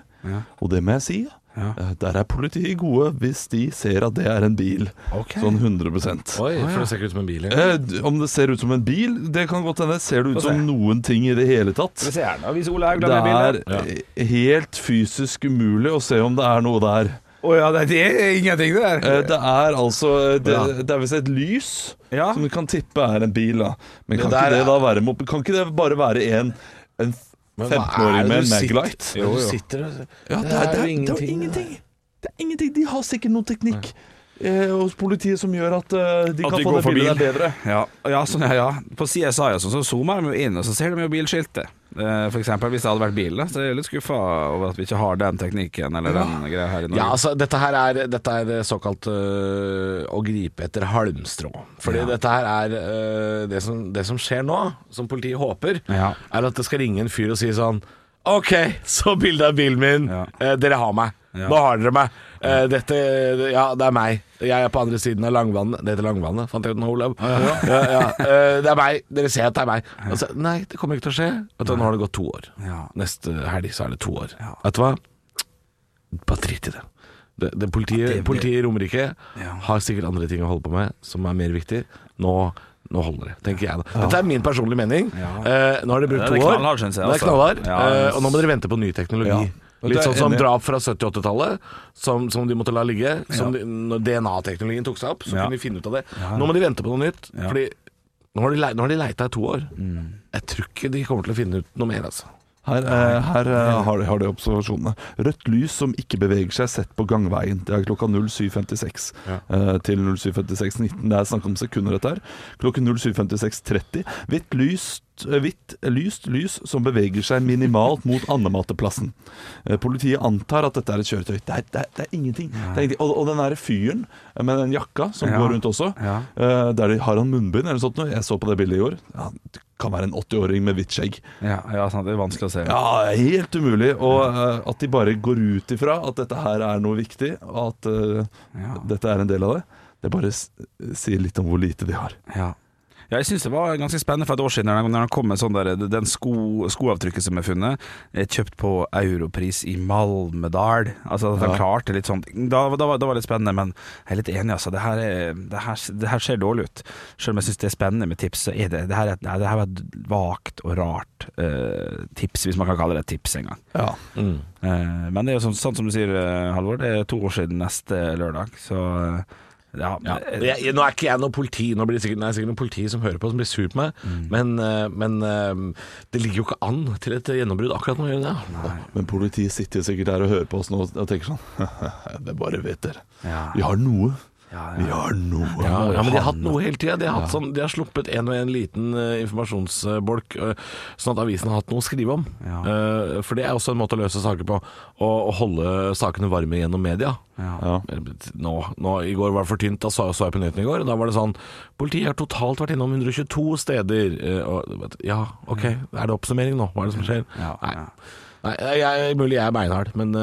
og det må jeg si. eh, Der er politiet gode hvis de ser at det er en bil. Sånn 100
Oi, for det ser ikke ut som en bil engang.
Eh, d- Om det ser ut som en bil, det kan godt hende. Ser det ut som noen ting i det hele tatt?
se her, da. Hvis Ole Haug
Det
lar meg bilde.
er eh, helt fysisk umulig å se om det er noe der.
Å ja, det det er ingenting, det der.
Eh, Det er altså Det, det er visst et lys
Ja.
som du kan tippe er en bil, da. Men kan
der
ikke det
er-
da være mop- Kan ikke det bare være en, en
Men hva Eh, er
15-åring
det
med en
du sitter-
Maglite?
Du sitter og
Ja, det, er, det, er, det er jo ingenting. Det er ingenting. De har sikkert noe teknikk eh, hos politiet som gjør at eh, de
At
kan
de
få
går
det
for
bildet
bil.
der bedre.
Ja, ja, sånn, ja, ja. På CSI og sånn, så zoomer de jo inn, og så ser de jo bilskiltet. Eh, For eksempel hvis det hadde vært bil, da, så er jeg litt skuffa over at vi ikke har den teknikken eller den greia her i Norge.
Ja, altså dette her er, dette er såkalt øh, å gripe etter halmstrå. Fordi dette her er øh, det, som, det som skjer nå, som politiet håper,
Ja.
er at det skal ringe en fyr og si sånn Ok, så bilde av bilen min.
Ja.
Eh, dere har meg. Nå har dere meg. Eh, dette Ja, det er meg. Jeg er på andre siden av Langvannet. Det heter Langvannet, fant jeg ut nå, Olav. Ja, ja. Eh, det er meg. Dere ser at det er meg. Altså, nei, det kommer ikke til å skje. Vet du, nå har det gått to år.
Ja.
Neste helg så er det to år. Vet du hva? Bare drit i det. det, det politiet, politiet i Romerike har sikkert andre ting å holde på med som er mer viktig. Nå, nå holder det, tenker jeg. da Dette er min personlige mening. Eh, nå har dere brukt
Det er
to år.
knallhard, synes jeg,
Det er
altså.
knallhard.
Ja,
eh, og nå må dere vente på ny teknologi.
Ja.
Litt
Det er
sånn som
enig.
drap fra 70-80-tallet, som, som de måtte la ligge. Som de, når DNA-teknologien tok seg opp, så
Ja.
kunne de finne ut av det. Nå må de vente på noe nytt. Fordi nå har de, le- nå har de leita i to år. Jeg tror ikke de kommer til å finne ut noe mer, altså.
Her, eh, her eh, har, de, har de observasjonene. Rødt lys som ikke beveger seg, sett på gangveien. Det er klokka 07.56 eh, til 07.56.19. Det er snakk om sekunder, dette her. Klokken 07.56.30. Hvitt lyst eh, Hvitt lyst lys som beveger seg minimalt mot andemateplassen. Eh, Politiet antar at dette er et kjøretøy. Det er, det er, det er ingenting. Det er ingenting. Og, og den derre fyren eh, med den jakka som
Ja.
går rundt også,
Ja.
eh, der de har han munnbind eller sånt noe. Jeg så på det bildet i går. Ja, det kan være en 80-åring med hvitt skjegg.
ja, ja, sant, det er vanskelig å se.
Ja, helt umulig. Og eh, at de bare går ut ifra at dette her er noe viktig, og at eh, dette er en del av det, det bare s- sier litt om hvor lite de har.
Ja. Ja, jeg syns det var ganske spennende for et år siden når den- når den kom med sånn der, den sko, skoavtrykket som er funnet, er kjøpt på europris i Malmedal. Altså at han klarte litt sånn da, da, var- da var det litt spennende, men jeg er litt enig, altså. Det her, er, det her, det her ser dårlig ut. Selv om jeg syns det er spennende med tips, så er det det her, er et- nei, det her var et vagt og rart eh, tips, hvis man kan kalle det et tips engang.
Ja.
Mm.
Eh, men det er jo sånn, sånn som du sier, eh, Halvor, det er to år siden neste lørdag, så eh, ja, Eh,
Ja. Jeg, jeg, nå er ikke jeg noe politi, nå blir det sikkert, det er sikkert noen politi som hører på som blir sur på meg, men, eh, men eh, det ligger jo ikke an til et gjennombrudd akkurat nå. gjør det det?
Men politiet sitter jo sikkert der og hører på oss nå og tenker sånn Det bare vet dere.
Ja.
Vi har noe.
Ja,
Vi har noe.
Ja, ja, men de har hatt noe hele tida. De, har hatt sånn, de har sluppet en og en liten eh, informasjonsbolk, eh, sånn at avisen har hatt noe å skrive om.
Ja.
Eh, for det er også en måte å løse saker på. Å å holde sakene varme gjennom media.
Ja.
Nå, nå, I går var det for tynt, da så, så jeg på nyhetene i går. Da var det sånn Politiet har totalt vært innom 122 steder. eh, og, ja, OK. Er det oppsummering nå? Hva er det som skjer?
Mm. Ja,
Nei.
ja.
Nei, jeg, mulig jeg er beinhard, men eh,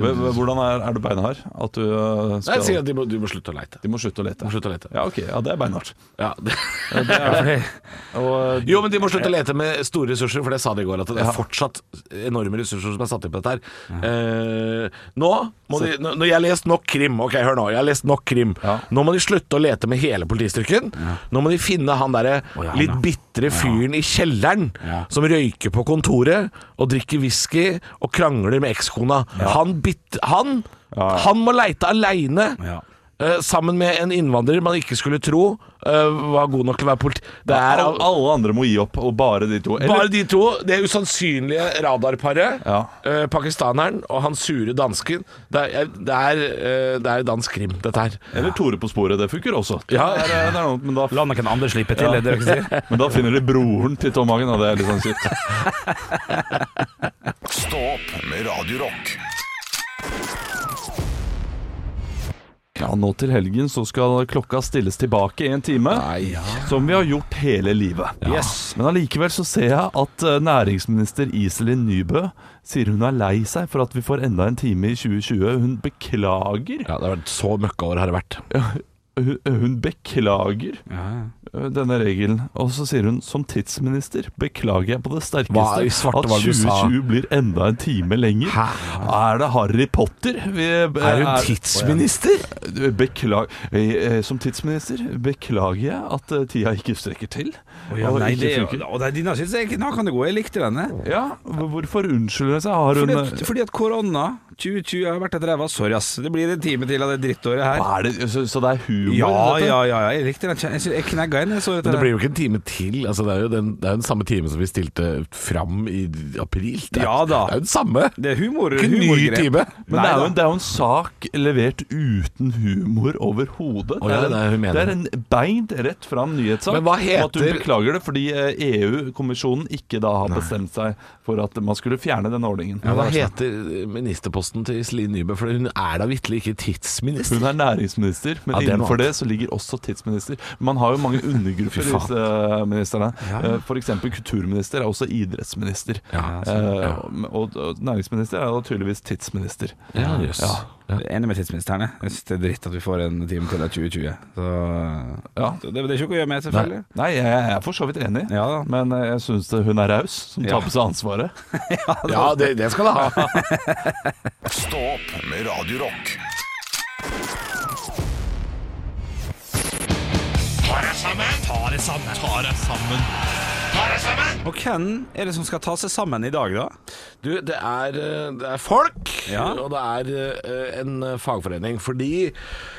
Men- men Hvordan er, er det beinhard? At du eh,
Nei, jeg sier
skal
at de må, du må slutte å leite.
De må slutte å lete.
Du må slutte å lete.
Ja, ok. Ja, det er beinhardt.
Ja, det
Ja, fordi-
Og
Jo, men de må slutte å lete med store ressurser, for det sa de i går. At det er fortsatt enorme ressurser som er satt inn på dette her. Eh, nå må de nå- Når jeg har lest nok krim Ok, hør nå. Jeg har lest nok krim.
Ja.
Nå må de slutte å lete med hele politistyrken. Nå må de finne han derre
Å, ja, han,
litt
ja.
bitre fyren i kjelleren
Ja.
som røyker på kontoret og drikker whisky og krangler med ekskona. Han bitt... Han,
Ja, ja.
han må leite aleine.
Ja.
Eh, sammen med en innvandrer man ikke skulle tro eh, var god nok til å være politi... Det er
Al- alle andre må gi opp, og bare de to.
Bare de to. Det usannsynlige radarparet.
Ja.
eh, pakistaneren og han sure dansken. Det er, det er, eh, det er dansk krim, dette her.
eller Tore på sporet. Det funker også.
Ja.
Det er, eh, det er noe, men, da,
La noen andre slippe til, er sånn. det det dere sier?
men da finner de broren til Tom Hagen, og det er litt sånn shit.
Stå opp med Radio Rock.
Ja, nå til helgen så skal klokka stilles tilbake i en time, som vi har gjort hele livet.
Yes.
Men allikevel så ser jeg at eh, næringsminister Iselin Nybø sier hun er lei seg for at vi får enda en time i 2020. Hun beklager.
Ja, det har vært så møkkaår har det vært.
Hun, hun beklager eh, denne regelen. Og så sier hun som tidsminister beklager jeg på det sterkeste
Hva i svarte
at
var det du sa?
2020 blir enda en time lenger. Er det Harry Potter? Vi,
Er hun tidsminister?
Beklag... eh, eh, Som tidsminister beklager jeg at eh, tida ikke strekker til. Og
nei,
ikke
det, er
funker.
jo- og det, er dine synes jeg ikke Nå kan det gå, jeg likte denne
ja, hvor- hvorfor unnskylder hun seg? Har hun
fordi at, fordi at korona 2020 har vært et ræva Sorry ass, det blir en time til av det drittåret her
Hva er det, så, så det er humor?
Ja, ja,
dette?
ja, ja, jeg likte den Jeg, synes- jeg knegget inn, jeg så dette
Men det
der.
blir jo ikke en time til. Altså, det er jo den, det er jo den samme timen som vi stilte fram i april. Det er,
Ja da.
det er jo den samme.
Det er humor
Ikke en ny
humorgrep.
time.
Men det
Nei
er, jo
da.
en, det er jo en sak levert uten humor overhodet.
Å ja,
en-
det er hun mener.
det er en beint rett fram nyhetssak.
Men hva
om At hun
heter-
beklager det fordi eh, EU-kommisjonen ikke da har bestemt seg for at man skulle fjerne den ordningen.
Ja, hva heter ministerposten til Iselin Nybø? For hun er da vitterlig ikke tidsminister.
Hun er næringsminister, men
Ja, det er noe
innenfor
annet.
det så ligger også tidsminister. Man har jo mange undergrupper,
Fy faen.
disse eh, ministerne. Eh, For eksempel kulturminister er også idrettsminister.
Ja,
Eh, og, og næringsminister er jo tydeligvis tidsminister.
Ja, jøss. Ja.
Jeg er Enig med tidsministerne Jeg synes det er dritt at vi får en time til av 2020 Så,
Ja.
så det, det er ikke noe å gjøre med selvfølgelig
Nei, jeg jeg er for så vidt enig,
Ja da.
men eh, jeg syns hun er raus som
Ja.
tar på seg ansvaret.
ja det, det skal det ha.
Stå opp med Radio Rock.
Og hvem er det som skal ta seg sammen i dag da?
Du, det er, eh, det er folk,
Ja.
og det er eh, en eh, fagforening. Fordi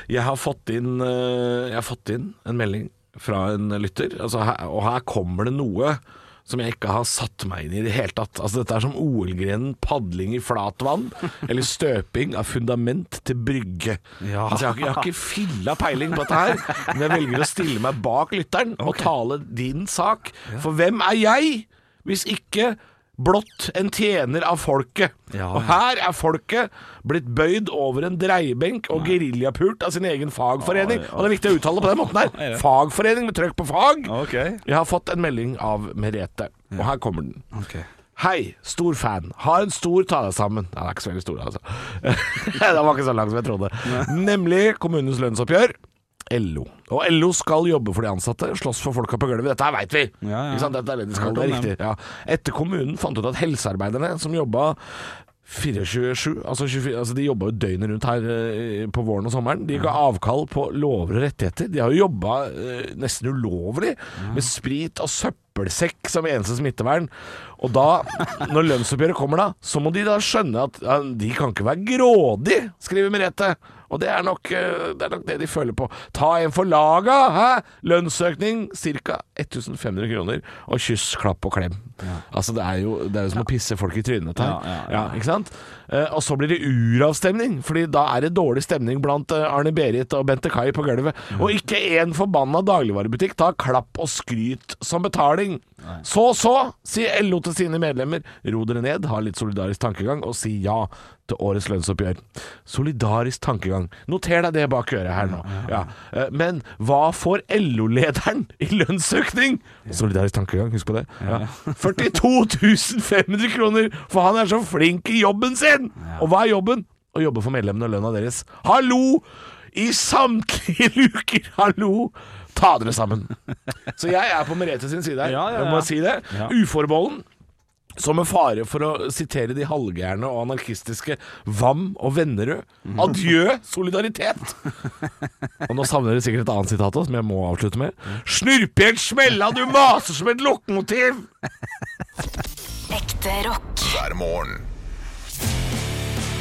jeg har fått inn, eh, jeg har fått inn en melding fra en lytter, altså, her, og her kommer det noe som jeg ikke har satt meg inn i i det hele tatt. Altså, dette er som OL-grenen padling i flatvann, eller støping av fundament til brygge.
Ja.
Altså, jeg, har ikke, jeg har ikke filla peiling på dette her, men jeg velger å stille meg bak lytteren og tale din sak. For hvem er jeg? Hvis ikke blott en tjener av folket.
Ja,
Og her er folket blitt bøyd over en dreiebenk og geriljapult av sin egen fagforening. Og det er viktig å uttale det på den måten her. Fagforening med trøkk på fag.
Ok
Jeg har fått en melding av Merete, og her kommer den.
Ok
Hei, stor fan. Har en stor ta deg sammen. Nei, Den er ikke så veldig stor, altså. den var ikke så lang som jeg trodde. Nemlig kommunens lønnsoppgjør. LO. Og LO skal jobbe for de ansatte, slåss for folka på gulvet. Dette her veit vi!
Ja, ja.
Ikke sant? Dette er det de skal,
Hørt
det er
om
riktig. Ja. Etter kommunen fant ut at helsearbeiderne som jobba 24-7, altså, 24, altså de jobba jo døgnet rundt her eh, på våren og sommeren, de ga avkall på lover og rettigheter. De har jo jobba eh, nesten ulovlig med sprit og søppelsekk som eneste smittevern. Og da, når lønnsoppgjøret kommer da, så må de da skjønne at ja, de kan ikke være grådige, skriver Merete. Og det er, nok, eh, det er nok det de føler på. Ta en for laga! Hæ? Lønnsøkning ca. 1500 kroner. Og kyss, klapp og klem. Altså Det er jo, det er jo som å pisse folk i trynet. dette her.
Ja, ja,
ikke sant? Eh, og så blir det uravstemning, Fordi da er det dårlig stemning blant eh, Arne Berit og Bente Kai på gulvet. Og ikke en forbanna dagligvarebutikk tar klapp og skryt som betaling. Så så, sier LO til sine medlemmer. Ro dere ned, ha litt solidarisk tankegang, og si ja til årets lønnsoppgjør. Solidarisk tankegang. Noter deg det bak øret her nå. Ja. Eh, Men hva får LO-lederen i lønnsøkning? Solidarisk tankegang, husk på det. Ja. 42 500 kroner, for han er så flink i jobben sin! Og hva er jobben? Å jobbe for medlemmene og lønna deres. Hallo! I samtlige luker, hallo! Ta dere sammen. Så jeg er på Merete sin side her,
Ja, ja,
jeg må
ja.
si det.
Ja.
Uforbeholden. Som en fare for å sitere de halvgærne og anarkistiske Vam og Vennerød. Adjø solidaritet! Og nå savner dere sikkert et annet sitat også, som jeg må avslutte med. Snurp igjen smella, du maser som et lokomotiv!
Ekte rock.
hver morgen.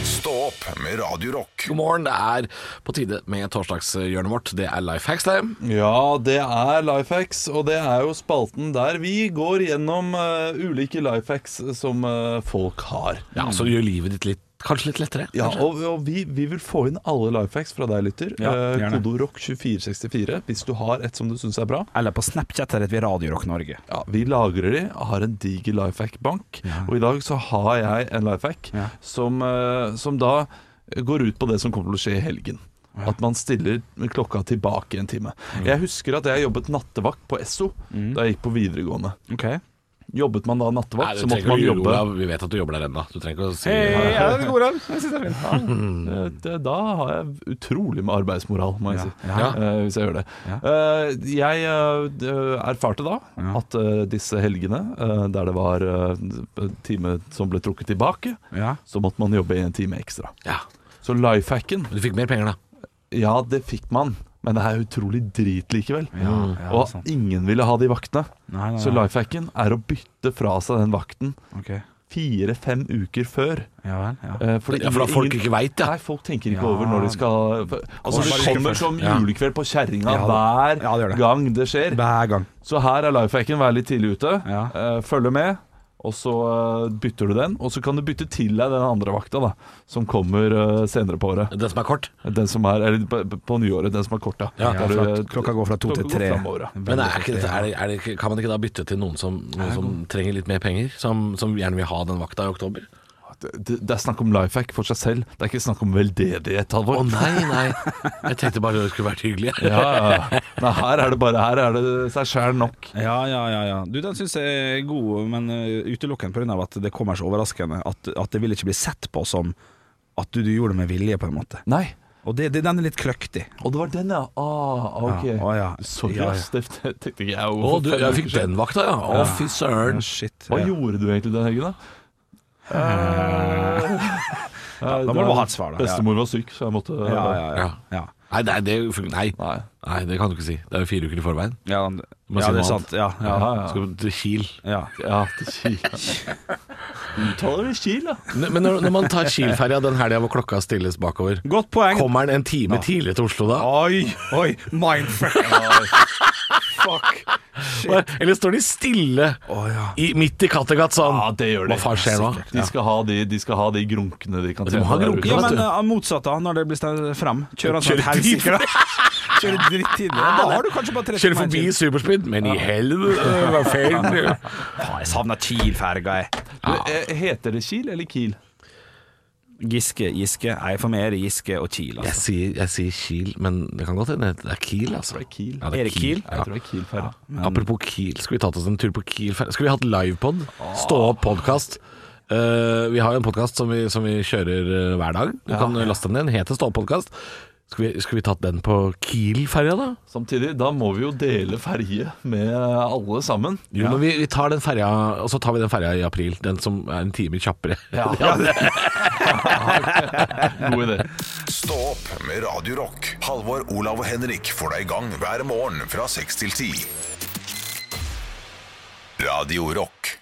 Stå opp med Radio Rock.
God morgen, det er på tide med torsdagshjørnet vårt. Det er Life Hacks, det.
Ja, det er Lifehacks, og det er jo spalten der vi går gjennom eh, ulike lifehacks som eh, folk har.
Ja, så gjør livet ditt litt, kanskje litt lettere.
Ja, og, og vi, vi vil få inn alle lifehacks fra deg, lytter.
Ja,
Eh,
gjerne.
Kodeord rock 2464 hvis du har et som du syns er bra.
Eller på Snapchat heter vi Radio Rock Norge.
Ja, Vi lagrer de, har en diger lifehack-bank. Og i dag så har jeg en lifehack
Ja.
som, eh, som da går ut på det som kommer til å skje i helgen. At man stiller klokka tilbake en time.
Mm.
Jeg husker at jeg jobbet nattevakt på Esso da jeg gikk på videregående.
Ok
Jobbet man da nattevakt,
Nei,
så
du
måtte
trenger
man
ikke å
jobbe
jobbe. Vi vet at du jobber der ennå. Du trenger ikke å si
ja, det er gode ord. Jeg synes det er fint.
Eh, det, Da har jeg utrolig med arbeidsmoral, må jeg
Ja,
si.
ja.
eh, hvis jeg gjør det. Eh, jeg eh, d- erfarte da at eh, disse helgene eh, der det var eh, time som ble trukket tilbake,
Ja.
så måtte man jobbe en time ekstra.
Ja.
Så lifehacken,
Men du fikk mer penger, da.
ja det fikk man, men det er utrolig drit likevel.
ja,
Og
sant.
ingen ville ha de vaktene.
Nei, nei,
Så
nei.
lifehacken er å bytte fra seg den vakten
Ok.
fire-fem uker før.
Ja vel. Ja.
Eh, fordi
Ja, for da
ingen-
folk ikke veit, ja.
Nei, folk tenker ikke
Ja.
over når de skal Altså,
Kommer
det
bare
kommer
først.
som
Ja.
julekveld på kjerringa
Ja, det-
hver
Ja, det gjør det.
gang det skjer.
Hver gang.
Så her er lifehacken vær litt tidlig ute.
Ja.
Eh, følge med, og så eh, bytter du den. Og så kan du bytte til deg den andre vakta, da, som kommer eh, senere på året.
Den som er kort.
Den som er, eller på, på nyåret, den som er korta.
Ja,
Ja,
Der
fra,
du-
klokka går fra to
klokka
til
går
tre.
fremover, ja.
Men er ikke dette, er det, er det, ikke- kan man ikke da bytte til noen som, noen som trenger litt mer penger? Som, som gjerne vil ha den vakta i oktober?
Det, det, det er snakk om lifehack for seg selv. Det er ikke snakk om veldedighet,
Å
Halvor.
nei, nei. Jeg tenkte bare det skulle vært hyggelig.
Ja, ja. Nei, her er det bare Her er det seg sjæl nok.
Ja, ja, ja, ja. Du, den syns jeg er god, men uh, utelukkende pga. at det kommer så overraskende. At, at det vil ikke bli sett på som at du, du gjorde det med vilje, på en måte.
Nei.
Og det, det, den er litt kløktig.
Og det var den, ja. Ah, ok.
Ja, å, ja.
Sorry,
Ja, ja.
ass. Det tenkte ikke jeg over.
Å, du, jeg fikk den vakta, ja. Å, fy søren.
Ja, shit.
Hva
Ja.
gjorde du egentlig den helgen, da? Ah.
da må du ha et svar, da. Ja.
Bestemor var syk, så jeg måtte
Ja, ja, ja.
Ja.
ja.
Nei, nei, det, fun- nei.
Nei.
nei, det kan du ikke si. Det er jo fire uker i forveien.
Ja,
må
ja, det
si
er
noe
sant. Ja, ja,
Ja, ja.
Skal du til Kiel.
ja.
ja til Kiel. Uttaler vi Kiel, da?
Men men når, når man tar Kiel-ferja den helga hvor klokka stilles bakover,
Godt poeng.
kommer den en time tidligere til Oslo da?
Oi, oi. Mindfuck. Fuck. Shit.
Eller står de stille
Å ja.
i, midt i Kattegat sånn?
Ja, det gjør de.
Hva faen skjer nå?
De skal ha de, de, skal ha de grunkene de kan
De må ha
der
grunker,
ute.
Ja,
vet
men
du.
uh, motsatt da, når det blir stemt frem Kjører han sånn
Kjører
helsike da. Kjører drittidlig Da har du kanskje bare 30
Kjører forbi Superspeed, men i helvete, hva feil?
Faen, jeg savner Kiel-ferga jeg
Eh, Heter det Kiel eller Kiel?
Giske, Giske Jeg får mer Giske og Kiel
Jeg
altså.
sier, jeg sier Kiel, men det kan godt hende det er Kiel, altså.
Det er Kiel.
Ja,
Er det Kiel?
Ja.
Jeg tror det er Kiel-ferja.
Apropos Kiel, skulle vi tatt oss en tur på Kiel? Skulle vi hatt livepod? Stå opp podkast? eh, vi har jo en podkast som, vi- som vi kjører eh, hver dag. Du kan laste den ned. Den heter Stå opp podkast. Skal vi, skal vi tatt den på Kiel-ferja, da?
Samtidig, da må vi jo dele ferje med alle sammen.
Jo, men vi, vi tar den ferja, og så tar vi den ferja i april. Den som er en time kjappere.
God idé.
Stå opp med Radio Rock. Halvor, Olav og Henrik får deg i gang hver morgen fra 6 til 10. Radio Rock.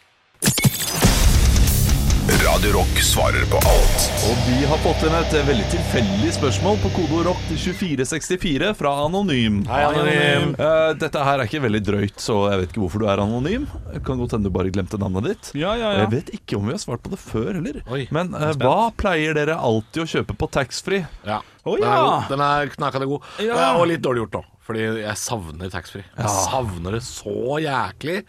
Radio Rock svarer på alt.
Og vi har fått inn et veldig tilfeldig spørsmål på kodeord rock til 2464 fra Anonym.
Anonym.
Eh, dette her er ikke veldig drøyt, så jeg vet ikke hvorfor du er anonym. Det kan godt hende du bare glemte navnet ditt.
Ja, ja, ja.
Jeg vet ikke om vi har svart på det før heller.
Oi,
Men eh, hva pleier dere alltid å kjøpe på taxfree?
Ja.
Å,
Den, er
ja.
god. den er knakende god.
Ja.
Eh, Og litt dårlig gjort nå, fordi jeg savner taxfree. Jeg savner det så jæklig.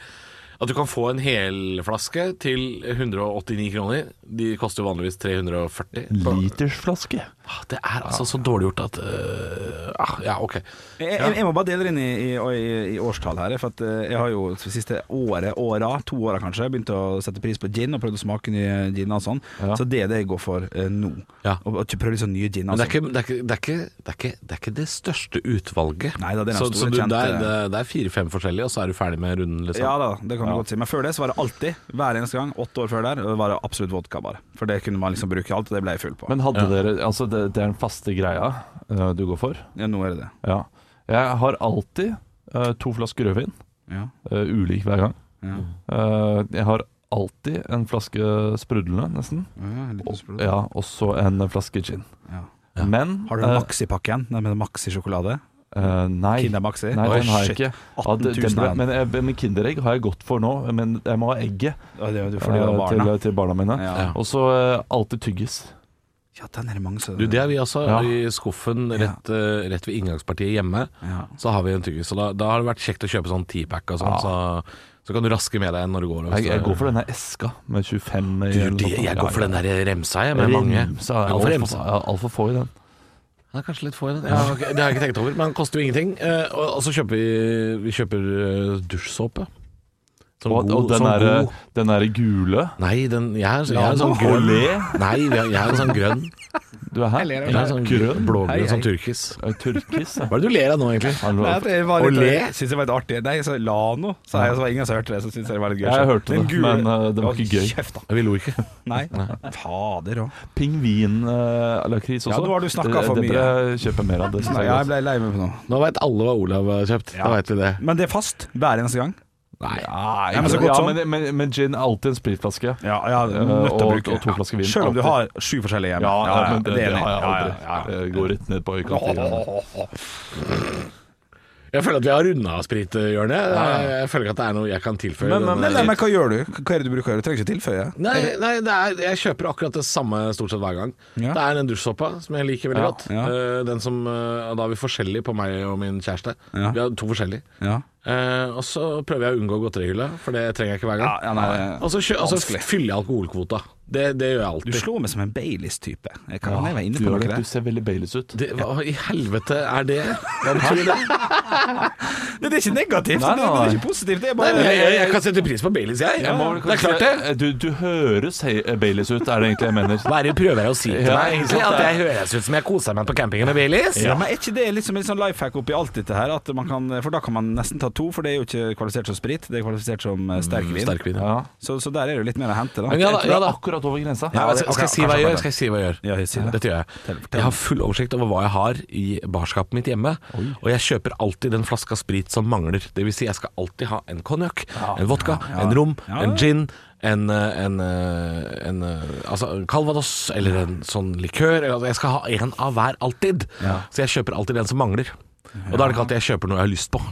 At du kan få en helflaske til 189 kroner. De koster jo vanligvis 340.
Litersflaske.
Ah, Det er altså så dårlig gjort at eh, ah, Ja, OK.
Jeg, jeg, jeg må bare dele det inn i, i, i- i årstall her. For at eh, jeg har jo det siste året, åra, to åra kanskje, begynt å sette pris på gin og prøvd å smake nye giner og sånn. Så det er det jeg går for eh, nå.
Ja.
Og, og prøve litt sånn nye giner.
Men det
Altså.
er, ikke, det, er ikke, det, er ikke, det er ikke Det er ikke det største utvalget.
Nei da, det er den
så,
store,
så du, det
kjente-
er, det er- det er fire-fem forskjellige, og så er du ferdig med runden, liksom.
eh, Ja da, det kan du godt si. Men før det så var det alltid, hver eneste gang, åtte år før der, var det absolutt vodka bare. For det kunne man liksom bruke alt, og det ble jeg full på.
Men hadde dere Altså, det, det er den faste greia eh, du går for.
ja, nå er det det.
Ja. Jeg har alltid eh, to flasker rødvin.
Ja.
eh, ulik hver gang.
ja.
Eh, jeg har alltid en flaske sprudlende, nesten.
ja en liten sprut.
Ja, og så en flaske gin.
Ja.
Men
Har du en Maxi-pakke igjen? Den med Maxi-sjokolade?
eh, eh, nei.
Kinder Maxi?
Nei,
Oi,
den har jeg
shit.
ikke.
18 000
Ja, den ble,
er den.
men, jeg, men Kinderegg har jeg gått for nå, men jeg må ha egget
Ja, det er jo fordi det var
eh, til,
barna.
til barna mine.
Ja.
Og så eh, alltid tyggis.
ja, den er det mange som
Du, det er vi altså.
Ja.
I skuffen rett, eh, rett ved inngangspartiet hjemme,
Ja.
så har vi en tyggis. Så da, da har det vært kjekt å kjøpe sånn teapack og sånn, så, så kan du raske med deg en når du går. og hvis
Jeg, jeg
det-
går for denne eska med 25 i.
du,
eller noe
det,
sånt.
jeg går for den der remsa,
Ja,
jeg, med mange.
Remsa, jeg
Jeg går for
er
remsa.
Altfor ja, alt for få i den.
Ja, kanskje litt få i den. Ja, ok, Det har jeg ikke tenkt over, men den koster jo ingenting. Eh, og, og så kjøper vi, vi kjøper eh, dusjsåpe. Sånn
Og, og den, eh,
sånn
der,
god-
den der gule.
Nei, den, jeg er, jeg er
Ja,
en sånn
nå.
grønn
Olé.
Nei, jeg jeg er en sånn grønn.
Du er her?
Jeg er en sånn grønn,
Hei,
blågrønn,
hei.
sånn turkis.
Eh, Turkis, ja.
Hva er det du ler av nå, egentlig?
Nei, det var
Og
litt,
le.
Jeg synes det var litt artig. Nei, så Lano, sa jeg, så var det ingen som hørte det. Så synes jeg det var litt gøy.
Jeg
selv.
hørte
Den
det, men, eh, det
Å,
var ikke gøy.
Kjeft, da.
Vi lo ikke.
Nei. Fader òg.
Pingvin-lakris eh, også.
Ja, nå har du snakket
Det-
for
Det bør jeg kjøpe mer av. Det, synes jeg
Jeg
godt.
ble lei meg for noe.
Nå veit alle hva Olav har kjøpt. Da veit vi det.
Men det er fast hver eneste gang.
Nei.
Ja, men så godt
Ah, ja,
sånn.
men, men, men gin er alltid en spritflaske.
Ja, ja, nødt til å
Eh, og-
bruke
og to flasker vin.
Selv om du har sju forskjellige hjemme.
men det, det,
enig.
har jeg
Ja,
aldri.
ja, ja.
Jeg går rett ned på øyekantinen.
Jeg føler at vi har runda sprithjørnet. eh, Jeg- Jeg føler ikke at det er noe jeg kan tilføye.
Men-
denne-
men-
Nei, nei, men hva gjør du? Hva er det du bruker? Du trenger ikke tilføye.
Nei, nei det er, jeg kjøper akkurat det samme stort sett hver gang.
Ja.
Det er den dusjsåpa som jeg liker veldig
Ja,
godt.
ja.
Eh, Den som, eh, og Da er vi forskjellige på meg og min kjæreste.
Ja.
Vi har to forskjellige.
Ja.
Eh, og så prøver jeg å unngå godterihylla, for det trenger jeg ikke hver gang.
Ja, ja, nei,
altså,
og så kjø- og så fyller jeg alkoholkvota. Det, det gjør jeg
Du
alltid.
slår meg som en Baileys-type. Jeg kan jeg var inne
Du,
på
gjør
noe
det. du
der.
ser veldig Baileys ut.
Det, hva i helvete er det? Hva betyr det?
Nei, det er ikke negativt.
Nei,
Det, det
nei.
er ikke positivt. Det er
Nei,
bare
men jeg, jeg, jeg kan sette pris på Baileys, jeg.
Jeg må vel
det er
kanskje-
klart det.
Du, du høres he- Baileys ut, er det egentlig jeg mener.
Hva er det du prøver å si til
Ja,
meg?
ikke sant,
egentlig? At
det er-
jeg høres ut som jeg koser meg på campingen med Baileys?
Ja. men Er ikke det liksom en sånn life hack oppi alt dette her? At man kan, for da kan man nesten ta to, for det er jo ikke kvalifisert som sprit, det er kvalifisert som eh,
Mm,
sterk vin.
Sterk vin.
Ja.
Så, så der er det jo litt mer å hente, da.
Men ja da,
Jeg tror
ja
det
da.
er akkurat over grensa.
Nei, men
det-
skal, skal jeg
ok,
si hva jeg
kanskje
gjør? Skal jeg si hva jeg gjør?
Ja, si det.
Dette gjør jeg.
Tell- tell.
Jeg har full oversikt over hva jeg har i barskapet mitt hjemme, og jeg kjøper alltid den flaska sprit som mangler. Det vil si, jeg skal alltid ha en konjakk, en vodka,
ja, ja.
en rom,
Ja, ja.
en gin, en, eh, en, eh, en, eh, altså en Calvados eller en sånn likør. eller- altså, Jeg skal ha en av hver alltid.
Ja.
Så jeg kjøper alltid den som mangler. Og da er det ikke alltid jeg kjøper noe jeg har lyst på.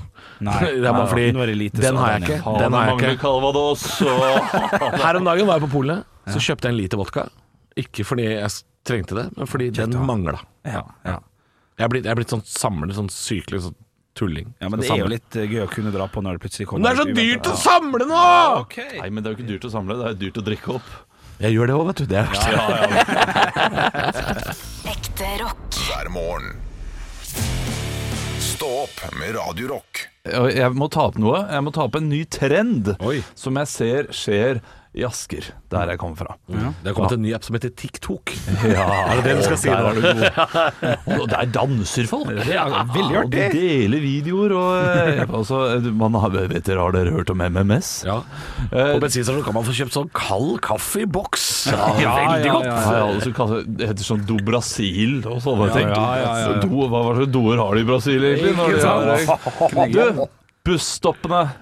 Nei,
det er bare
nei,
fordi
nå er det lite
den
sånn,
har jeg
ja.
ikke.
Faen,
Den har jeg
mangler
ikke.
Calvados og
Her om dagen var jeg på polet, så kjøpte jeg en liter vodka. Ikke fordi jeg s- trengte det, men fordi den mangla.
Ja, ja.
Jeg er blitt, jeg er blitt sånn samler, sånn sykelig sånn tulling.
ja, men det
Skal
er jo
samle.
litt eh, gøy å kunne dra på når det plutselig
Men
kommer
det er så
ut,
dyrt
vet
å
du.
samle nå!
Nei, men det er jo ikke dyrt å samle, det er dyrt å drikke opp.
Jeg gjør det òg, vet du. Det er verst.
Ekte rock.
hver morgen. Stå opp med Radio Rock.
og jeg må ta opp noe. Jeg må ta opp en ny trend
Oi.
som jeg ser skjer i Asker, der jeg kommer fra.
Det har kommet en ny app som heter TikTok.
Ja,
Er det det du skal si
der
nå?
er du god. Og der danser folk.
Det er veldig
Og de
artig.
deler videoer og eh, altså, man har, vet dere, Har dere hørt om MMS?
Ja. På bensinstasjonen kan man få kjøpt sånn kald kaffe i boks. Ja,
Eh, ja, ja,
veldig
Ja,
godt.
ja, altså, kaller- det heter sånn Do Brasil og sånne ting.
ja, ja, ja.
Do, hva hva slags doer har de i Brasil, egentlig? når de har- Du, busstoppene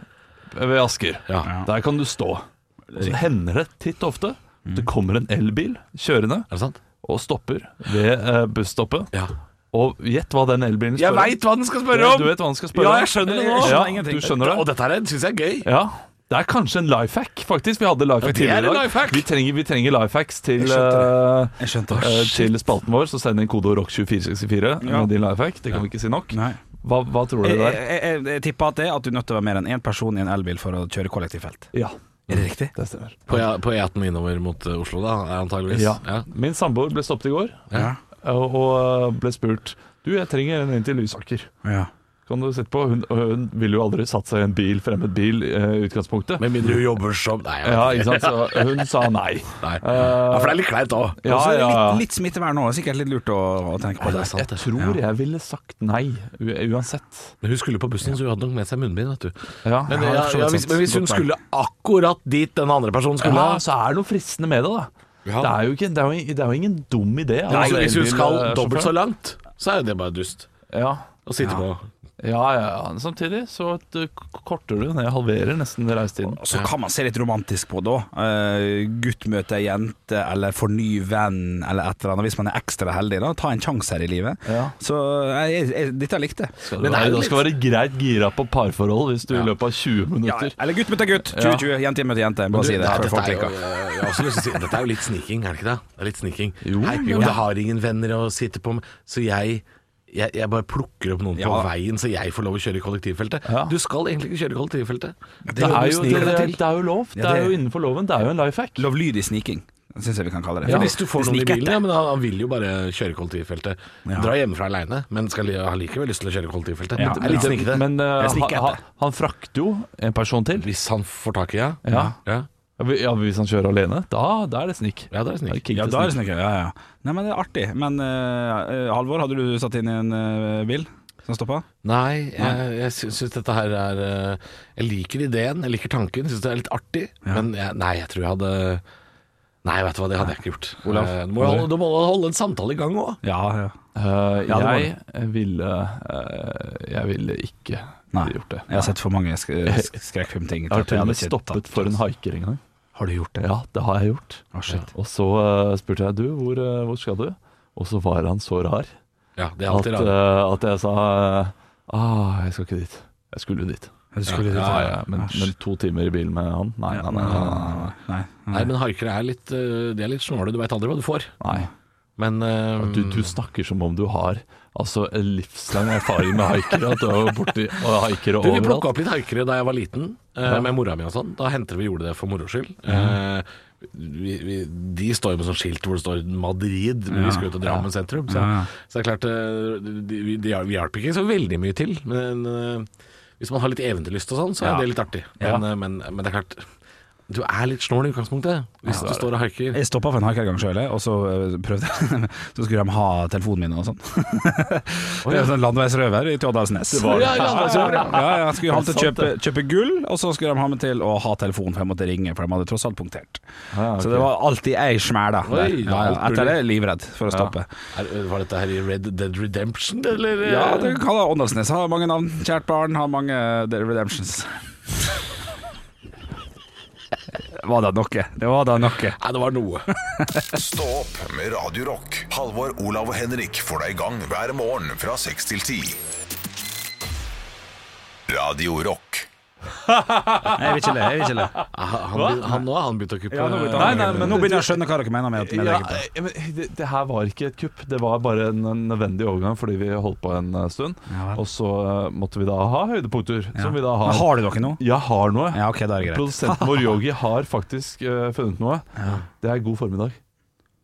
ved Asker.
Ja.
Der kan du stå. Og Så hender det titt ofte det kommer en elbil kjørende
Er det sant?
og stopper ved eh, busstoppet.
Ja.
Og gjett hva den elbilen spør
Jeg veit hva den skal spørre om!
Du vet hva han skal spørre om?
Ja, jeg skjønner det nå.
Ja,
Jeg skjønner ingenting.
du skjønner det.
Og dette her syns jeg er gøy.
Ja, det er kanskje en life hack, faktisk. Vi hadde life hack
Ja, det er
tidligere i
en
dag.
life hack.
Vi trenger, vi trenger life hacks til, eh,
Jeg skjønte det.
eh, til spalten vår, så send inn kodeord rock2464
Ja.
med din life hack. Det kan vi ikke si nok.
Nei.
Hva, hva tror du
Jeg,
der?
Eh,
jeg, jeg, eh, jeg tipper at det er at du er nødt til å være mer enn én person i en elbil for å kjøre kollektivfelt.
Ja,
Er det riktig?
det stemmer.
På E- på E18 innover mot eh, Oslo, da, antageligvis.
Ja. Min samboer ble stoppet i går
Ja.
og, og eh, ble spurt Du, jeg trenger en inn til Lysaker.
ja.
Kan du sette på? Hun, og hun ville jo aldri satt seg i en bil, fremmed bil, eh, i utgangspunktet.
Med mindre hun jobber som Nei, jeg
Ja,
vet
ikke sant? Så hun sa nei.
ikke. Nei.
Eh,
Ja, for det er litt kleint òg.
ja,
Også
ja, ja.
Litt, litt smittevern nå, sikkert litt lurt å, å tenke på.
det er
det.
sant.
Jeg tror jeg ville sagt nei, u uansett.
Men hun skulle på bussen, så hun hadde nok med seg munnbind, vet du.
Ja,
Men,
ja,
ja,
for så
ja,
vidt
hvis,
sant.
men hvis hun
Godt poeng.
skulle akkurat dit den andre personen skulle
ja, Så er det noe fristende med det, da.
Ja.
Det, er jo ikke, det, er jo, det er jo ingen dum idé.
Nei,
altså,
hvis
elbil,
hun skal
eh,
dobbelt så
sjåfør.
langt, så er jo det bare dust.
ja.
Å sitte
Ja, ja, ja. Samtidig så eh, k- korter du ned, halverer nesten reisetiden.
Så kan man se litt romantisk på det òg. gutt møter ei jente, eller får ny venn, eller et eller annet. Hvis man er ekstra heldig, da. Ta en sjanse her i livet.
Ja.
Så eh, jeg, jeg, jeg, dette likte jeg.
Men
Men
det
det er jo
da
litt-
skal være greit gira på parforhold hvis du i løpet av 20
Ja,
minutter
eller gutt møter gutt. 2020. Jente møter jente. Bare si det.
Ja,
før
dette,
folk
er jo, eh,
klikker.
jeg har også lyst til å si, dette er jo litt sniking, er det ikke det? Det er litt sniking.
Jo,
Hei,
jo.
jeg har ingen venner å sitte på med, så jeg, jeg, jeg bare plukker opp noen på
Ja.
veien, så jeg får lov å kjøre i kollektivfeltet.
Ja.
Du skal egentlig ikke kjøre i kollektivfeltet.
det er, jo, det, det,
sniker deg
er, det er jo lov. Det
Ja, det-
er jo innenfor loven. Det er jo en life hack.
Lovlydig sniking, syns jeg vi kan kalle det.
Ja,
Fordi
hvis du får
det
noen i
sniker
bilen,
etter.
ja, men han, han vil jo bare kjøre i kollektivfeltet.
Ja.
Dra hjemmefra aleine, men skal, li- har likevel lyst til å kjøre i kollektivfeltet.
Ja,
Det er litt snikete.
Men eh,
Jeg sniker
han,
etter.
han frakter jo en person til.
Hvis han får tak i henne,
Ja.
ja.
Ja, Hvis han kjører alene, da, da er det snik.
ja, det er snik.
kick
Ja,
til
da er
snik.
det snikker. Ja, ja. Nei, men det er artig. Men eh, eh, Halvor, hadde du satt inn i en eh, bil som stoppa?
Nei, jeg, jeg sy- syns dette her er eh, Jeg liker ideen, jeg liker tanken, syns det er litt artig. Men jeg, nei, jeg tror jeg hadde Nei, vet du hva, det hadde jeg ikke gjort.
Olav?
Eh, Du må jo holde, du må holde en samtale i gang òg.
Ja, ja.
Eh,
det var
jeg, ville, eh, jeg ville ikke
Nei.
gjort det.
Jeg har sett for mange sk sk skrekkfilmting.
Jeg har til og med
hadde ikke
stoppet
tatt-
for en haiker en gang.
Har du gjort det?
altså. Ja, det har jeg gjort.
Å, shit.
Og så eh, spurte jeg du, hvor, eh, hvor skal du? Og så var han så rar at,
Ja, det er alltid rart.
eh, at jeg sa eh, ah, jeg skal ikke dit. Jeg skulle jo dit.
Du skulle dit,
Ja, ja, men, men to timer i bilen med han? Nei, nei, nei. nei, nei.
Nei.
Nei, men haikere er litt eh, De er litt snåle, du veit aldri hva du får.
nei.
Men eh,
Du, du snakker som om du har altså, en livslang erfaring med haikere. At du er borti og haikere
Du, vi
overalt.
plukka opp litt haikere da jeg var liten, eh, med mora mi og sånn. Da hendte det vi gjorde det for moro skyld. Eh, vi, vi, de står jo med sånn skilt hvor det står Madrid, men vi skal ut og Drammen sentrum. Så,
Ja, ja.
så det er klart, eh, de, vi, de hjalp- vi hjalp ikke så veldig mye til. Men eh, hvis man har litt eventyrlyst og sånn, så
Ja.
er det litt artig. Men, eh, men, men det er klart, du er litt snål i utgangspunktet hvis du står og haiker.
Jeg stoppa for en haikergang sjøl, og så eh, prøvde jeg Så skulle de ha telefonen min og sånn. Det er sånn Landeveisrøver i Tjådalsnes.
var det.
Ja, landeveisrøver, ja. ja, ja. Skulle ha meg til å kjøpe, kjøpe gull, og så skulle de ha meg til å ha telefon, for jeg måtte ringe, for de hadde tross alt punktert.
Ja, ok.
Så det var alltid ei smæla. der.
Oi,
Ja, ja.
alt mulig.
Etter det livredd for å stoppe.
Er, eh, var dette her i Red Dead Redemption, eller? eh?
Ja, det kan jeg Åndalsnes. Har mange navn. Kjært barn har mange The Redemptions. Var det noe? Det var da noe.
Nei, det var noe.
Stå opp med Radio Rock. Halvor, Olav og Henrik får deg i gang hver morgen fra 6 til 10. Radio Rock.
Jeg vil ikke le. Jeg vil ikke le.
Ah, Han, han, nå har han begynt å kuppe.
Nei, nei, men nå begynner jeg å skjønne hva dere mener med at vi
Ja,
legger på.
eh, men det, det her var ikke et kupp. Det var bare en en nødvendig overgang fordi vi holdt på en eh, stund.
Ja vel.
og så eh, måtte vi da ha høydepunkter, som vi da
Men
har.
har du noe nå?
Jeg har noe.
Ja, ok, da er det greit.
Produsenten vår Yogi har faktisk eh, funnet noe. Det er god formiddag.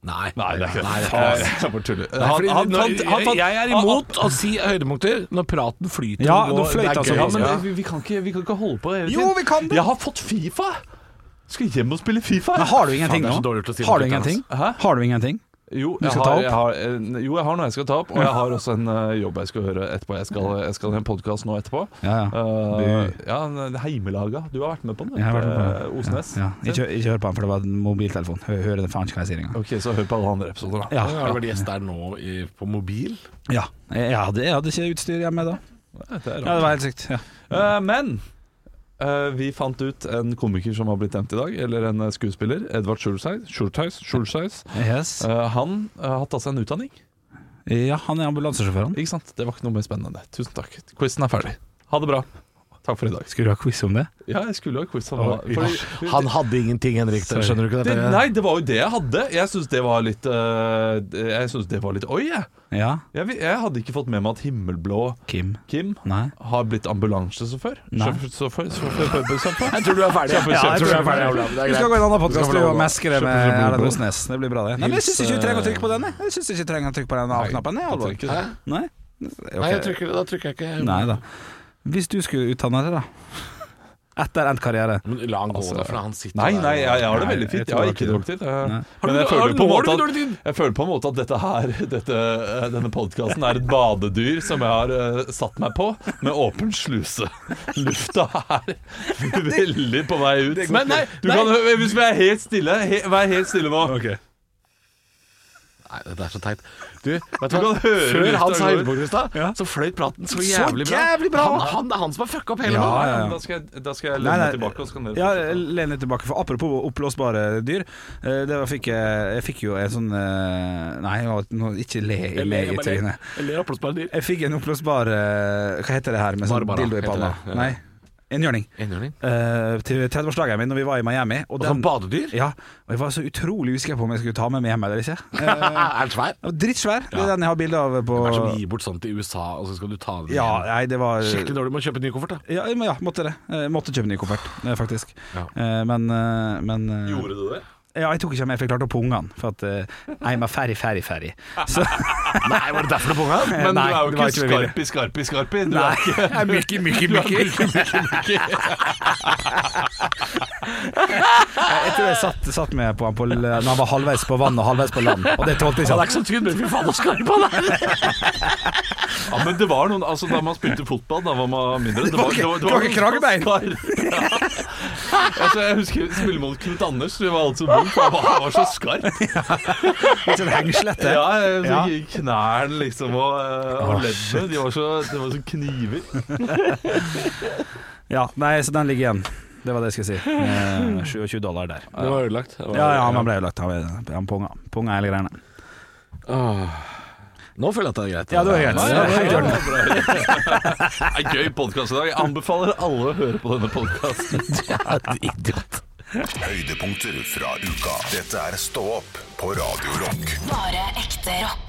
Nei.
Nei, det er ikke
Nei,
det.
det er
Faen,
ikke det.
jeg bare tuller.
Nei, fordi
Han- han
når-
fant- han fant-
jeg er imot å si høydepunkter når praten flyter.
Ja,
og
nå fløyta
det er
så
gøy. altså.
Ja,
godt,
men
Ja.
Vi, vi, kan ikke, vi kan ikke holde på hele
Jo, vi kan det.
Jeg har fått Fifa! Skal hjem og spille Fifa.
Men har du
Faen,
ingenting
det er
nå?
så dårlig gjort å si
har du
det, Jonas.
ingenting?
Hæ?
Har du ingenting?
Jo,
Du
jeg
skal
har,
ta opp?
jeg har, eh, jo, jeg har noe jeg skal ta opp, og jeg har også en eh, jobb jeg skal høre etterpå. Jeg skal, jeg skal i en podkast nå etterpå.
Ja, ja.
Eh, ja, det er Heimelaga. Du har vært med på den,
Jeg har vært med på
eh,
det.
Osnes.
Ja, ja. Ikke, ikke hør på han, for det var en mobiltelefon. Hø- Hører det faen ikke hva jeg sier engang.
Ok, så hør på alle andre episoder, da.
Ja,
Ja,
ja,
Har du vært gjest der nå i, på mobil?
ja. Jeg, hadde, jeg hadde ikke utstyr hjemme da.
Det er
Ja,
rart.
det var helt sykt. Ja.
Eh, men eh, vi fant ut en komiker som har blitt nevnt i dag, eller en eh, skuespiller. Edvard Schultheis. Schultheis, Schultheis.
Yes.
Eh, han eh, har tatt seg en utdanning.
ja, han er ambulansesjåføren.
Ikke sant? Det var ikke noe mer spennende enn det. Tusen takk. Quizen er ferdig. Ha det bra. Takk for i dag.
Skulle du ha quiz om det?
Ja, jeg skulle jo ha quiz. om
Å,
det, fordi-
Han hadde ingenting, Henrik.
Sorry.
Skjønner du ikke
det,
dette?
nei, det var jo det jeg hadde. Jeg syns det var litt eh, Jeg synes det var litt oi, jeg.
Ja.
jeg. vil- Jeg hadde ikke fått med meg at himmelblå
Kim?
Kim
Nei.
har blitt ambulansesjåfør.
Nei.
Sjåfør- sjåfør- sjåfør- sjåfør-
Jeg tror du er ferdig. Ja, jeg tror du er ferdig Olav. Det er
Du skal gå
greit.
i en annen podkast
skal få
og
lov å-
meske det med
Kjøpe-
Erlend Osnes. Det blir bra, det. Nei, men Jeg
Hils,
syns ikke du trenger å
eh,
trykke på den. jeg. Jeg synes ikke du trenger å trykke på den A-knappen. jeg,
Jeg
alvorlig.
tenker det.
Nei?
Nei, jeg
Ok.
trykker, da trykker jeg ikke.
Nei da. Hvis du skulle utdanne deg, da? Etter endt karriere.
Men la han gå derfra. Han sitter
Nei,
der
nei,
og-
jeg, jeg har det
Nei,
veldig fint.
jeg
Jeg har
tror
ikke
ikke
dårlig tid. Jeg-
Nei.
Har du-
Men jeg
har
føler
du-
på en
nå har
måte
du ikke
at,
dårlig tid?
jeg føler på en måte at dette her, dette, eh, denne podkasten er et badedyr som jeg har eh, satt meg på med åpen sluse. Lufta er veldig på vei ut. Men nei, du kan, hø- hvis vi er helt stille, he, vær helt stille nå.
Nei, det er så teit. Du, vet
Du
du hva?
kan høre
Før
litt
han sa
av
høydepunkter i stad,
Ja.
så fløyt praten
Så
så jævlig bra.
jævlig bra.
Han, han, det er han som har fucka opp hele
Ja,
nå.
ja, ja.
Da skal jeg, da skal jeg
Nei,
lene
nei.
meg tilbake, og så kan dere
Ja,
fortsette.
len deg tilbake, for apropos oppblåsbare dyr eh, Det var fikk jeg, jeg fikk jo en sånn eh, Nei, jeg var- nå, ikke le, le i trynet
Eller oppblåsbare dyr.
Jeg fikk en oppblåsbar eh, Hva heter det her med sånn
Barbara,
dildo i
heter
panna?
det, ja.
Nei, en hjørning
Enhjørning.
Eh, Til 30-årsdagen min når vi var i Miami Og
Og sånn
den,
badedyr.
ja, og jeg var så utrolig usikker på om jeg skulle ta med meg hjem eller ikke Eh,
Er den svær?
den var Drittsvær, det
Ja.
er den jeg har bilder av på
Hva er det som gir bort sånt i USA, og så skal du ta det med
Ja,
hjem?
nei, det var
Skikkelig dårlig. Du må kjøpe en ny koffert, da.
ja, men ja, måtte det Jeg måtte kjøpe en ny koffert, eh, faktisk
Ja.
Eh, Men, eh, men eh,
sånn. Gjorde du det?
Ja, jeg tok ikke med, for jeg klarte å punge han. For at eh, I'm a ferry, ferry, ferry. Så,
Nei, var det derfor du bonga?
Men
Nei,
du er jo
det
ikke,
var ikke med vilje.
skarpi, skarpi, skarpi. Du
nei,
er ikke
jeg er mykki, mykki, mykki. Jeg tror jeg satt, satt med på han på, l- når han var halvveis på vann og halvveis på land, og det tålte ikke
Han er
han.
ikke så tynn, men fy faen, så skarp han er!
Ja, men det var noen Altså, da man spilte fotball, da var man mindre. Det
var ikke- det var ikke
noen som var skarp. Ja. Altså, jeg husker vi spilte mot Knut Anders. Vi var alt så vondt, for han var- han var så skarp.
Litt sånn hengslete.
Ja, jeg- så
Ja.
gikk knærne liksom og, eh, og leddene. De var så, de var så kniver.
Ja, nei, så den ligger igjen. Det var det jeg skulle si. Eh, 27 dollar der.
Det var ødelagt.
Ja, ja, han ble jo lagt av. Han punga. Punga hele greiene.
Nå føler jeg at det er greit.
Ja, det var greit.
Nei,
Ja, helt i
ja,
orden.
Det er gøy podkast i dag. Jeg anbefaler alle å høre på denne podkasten.
Idiot.
Høydepunkter fra uka. Dette er Stå opp på Radio Rock.
Bare ekte rock.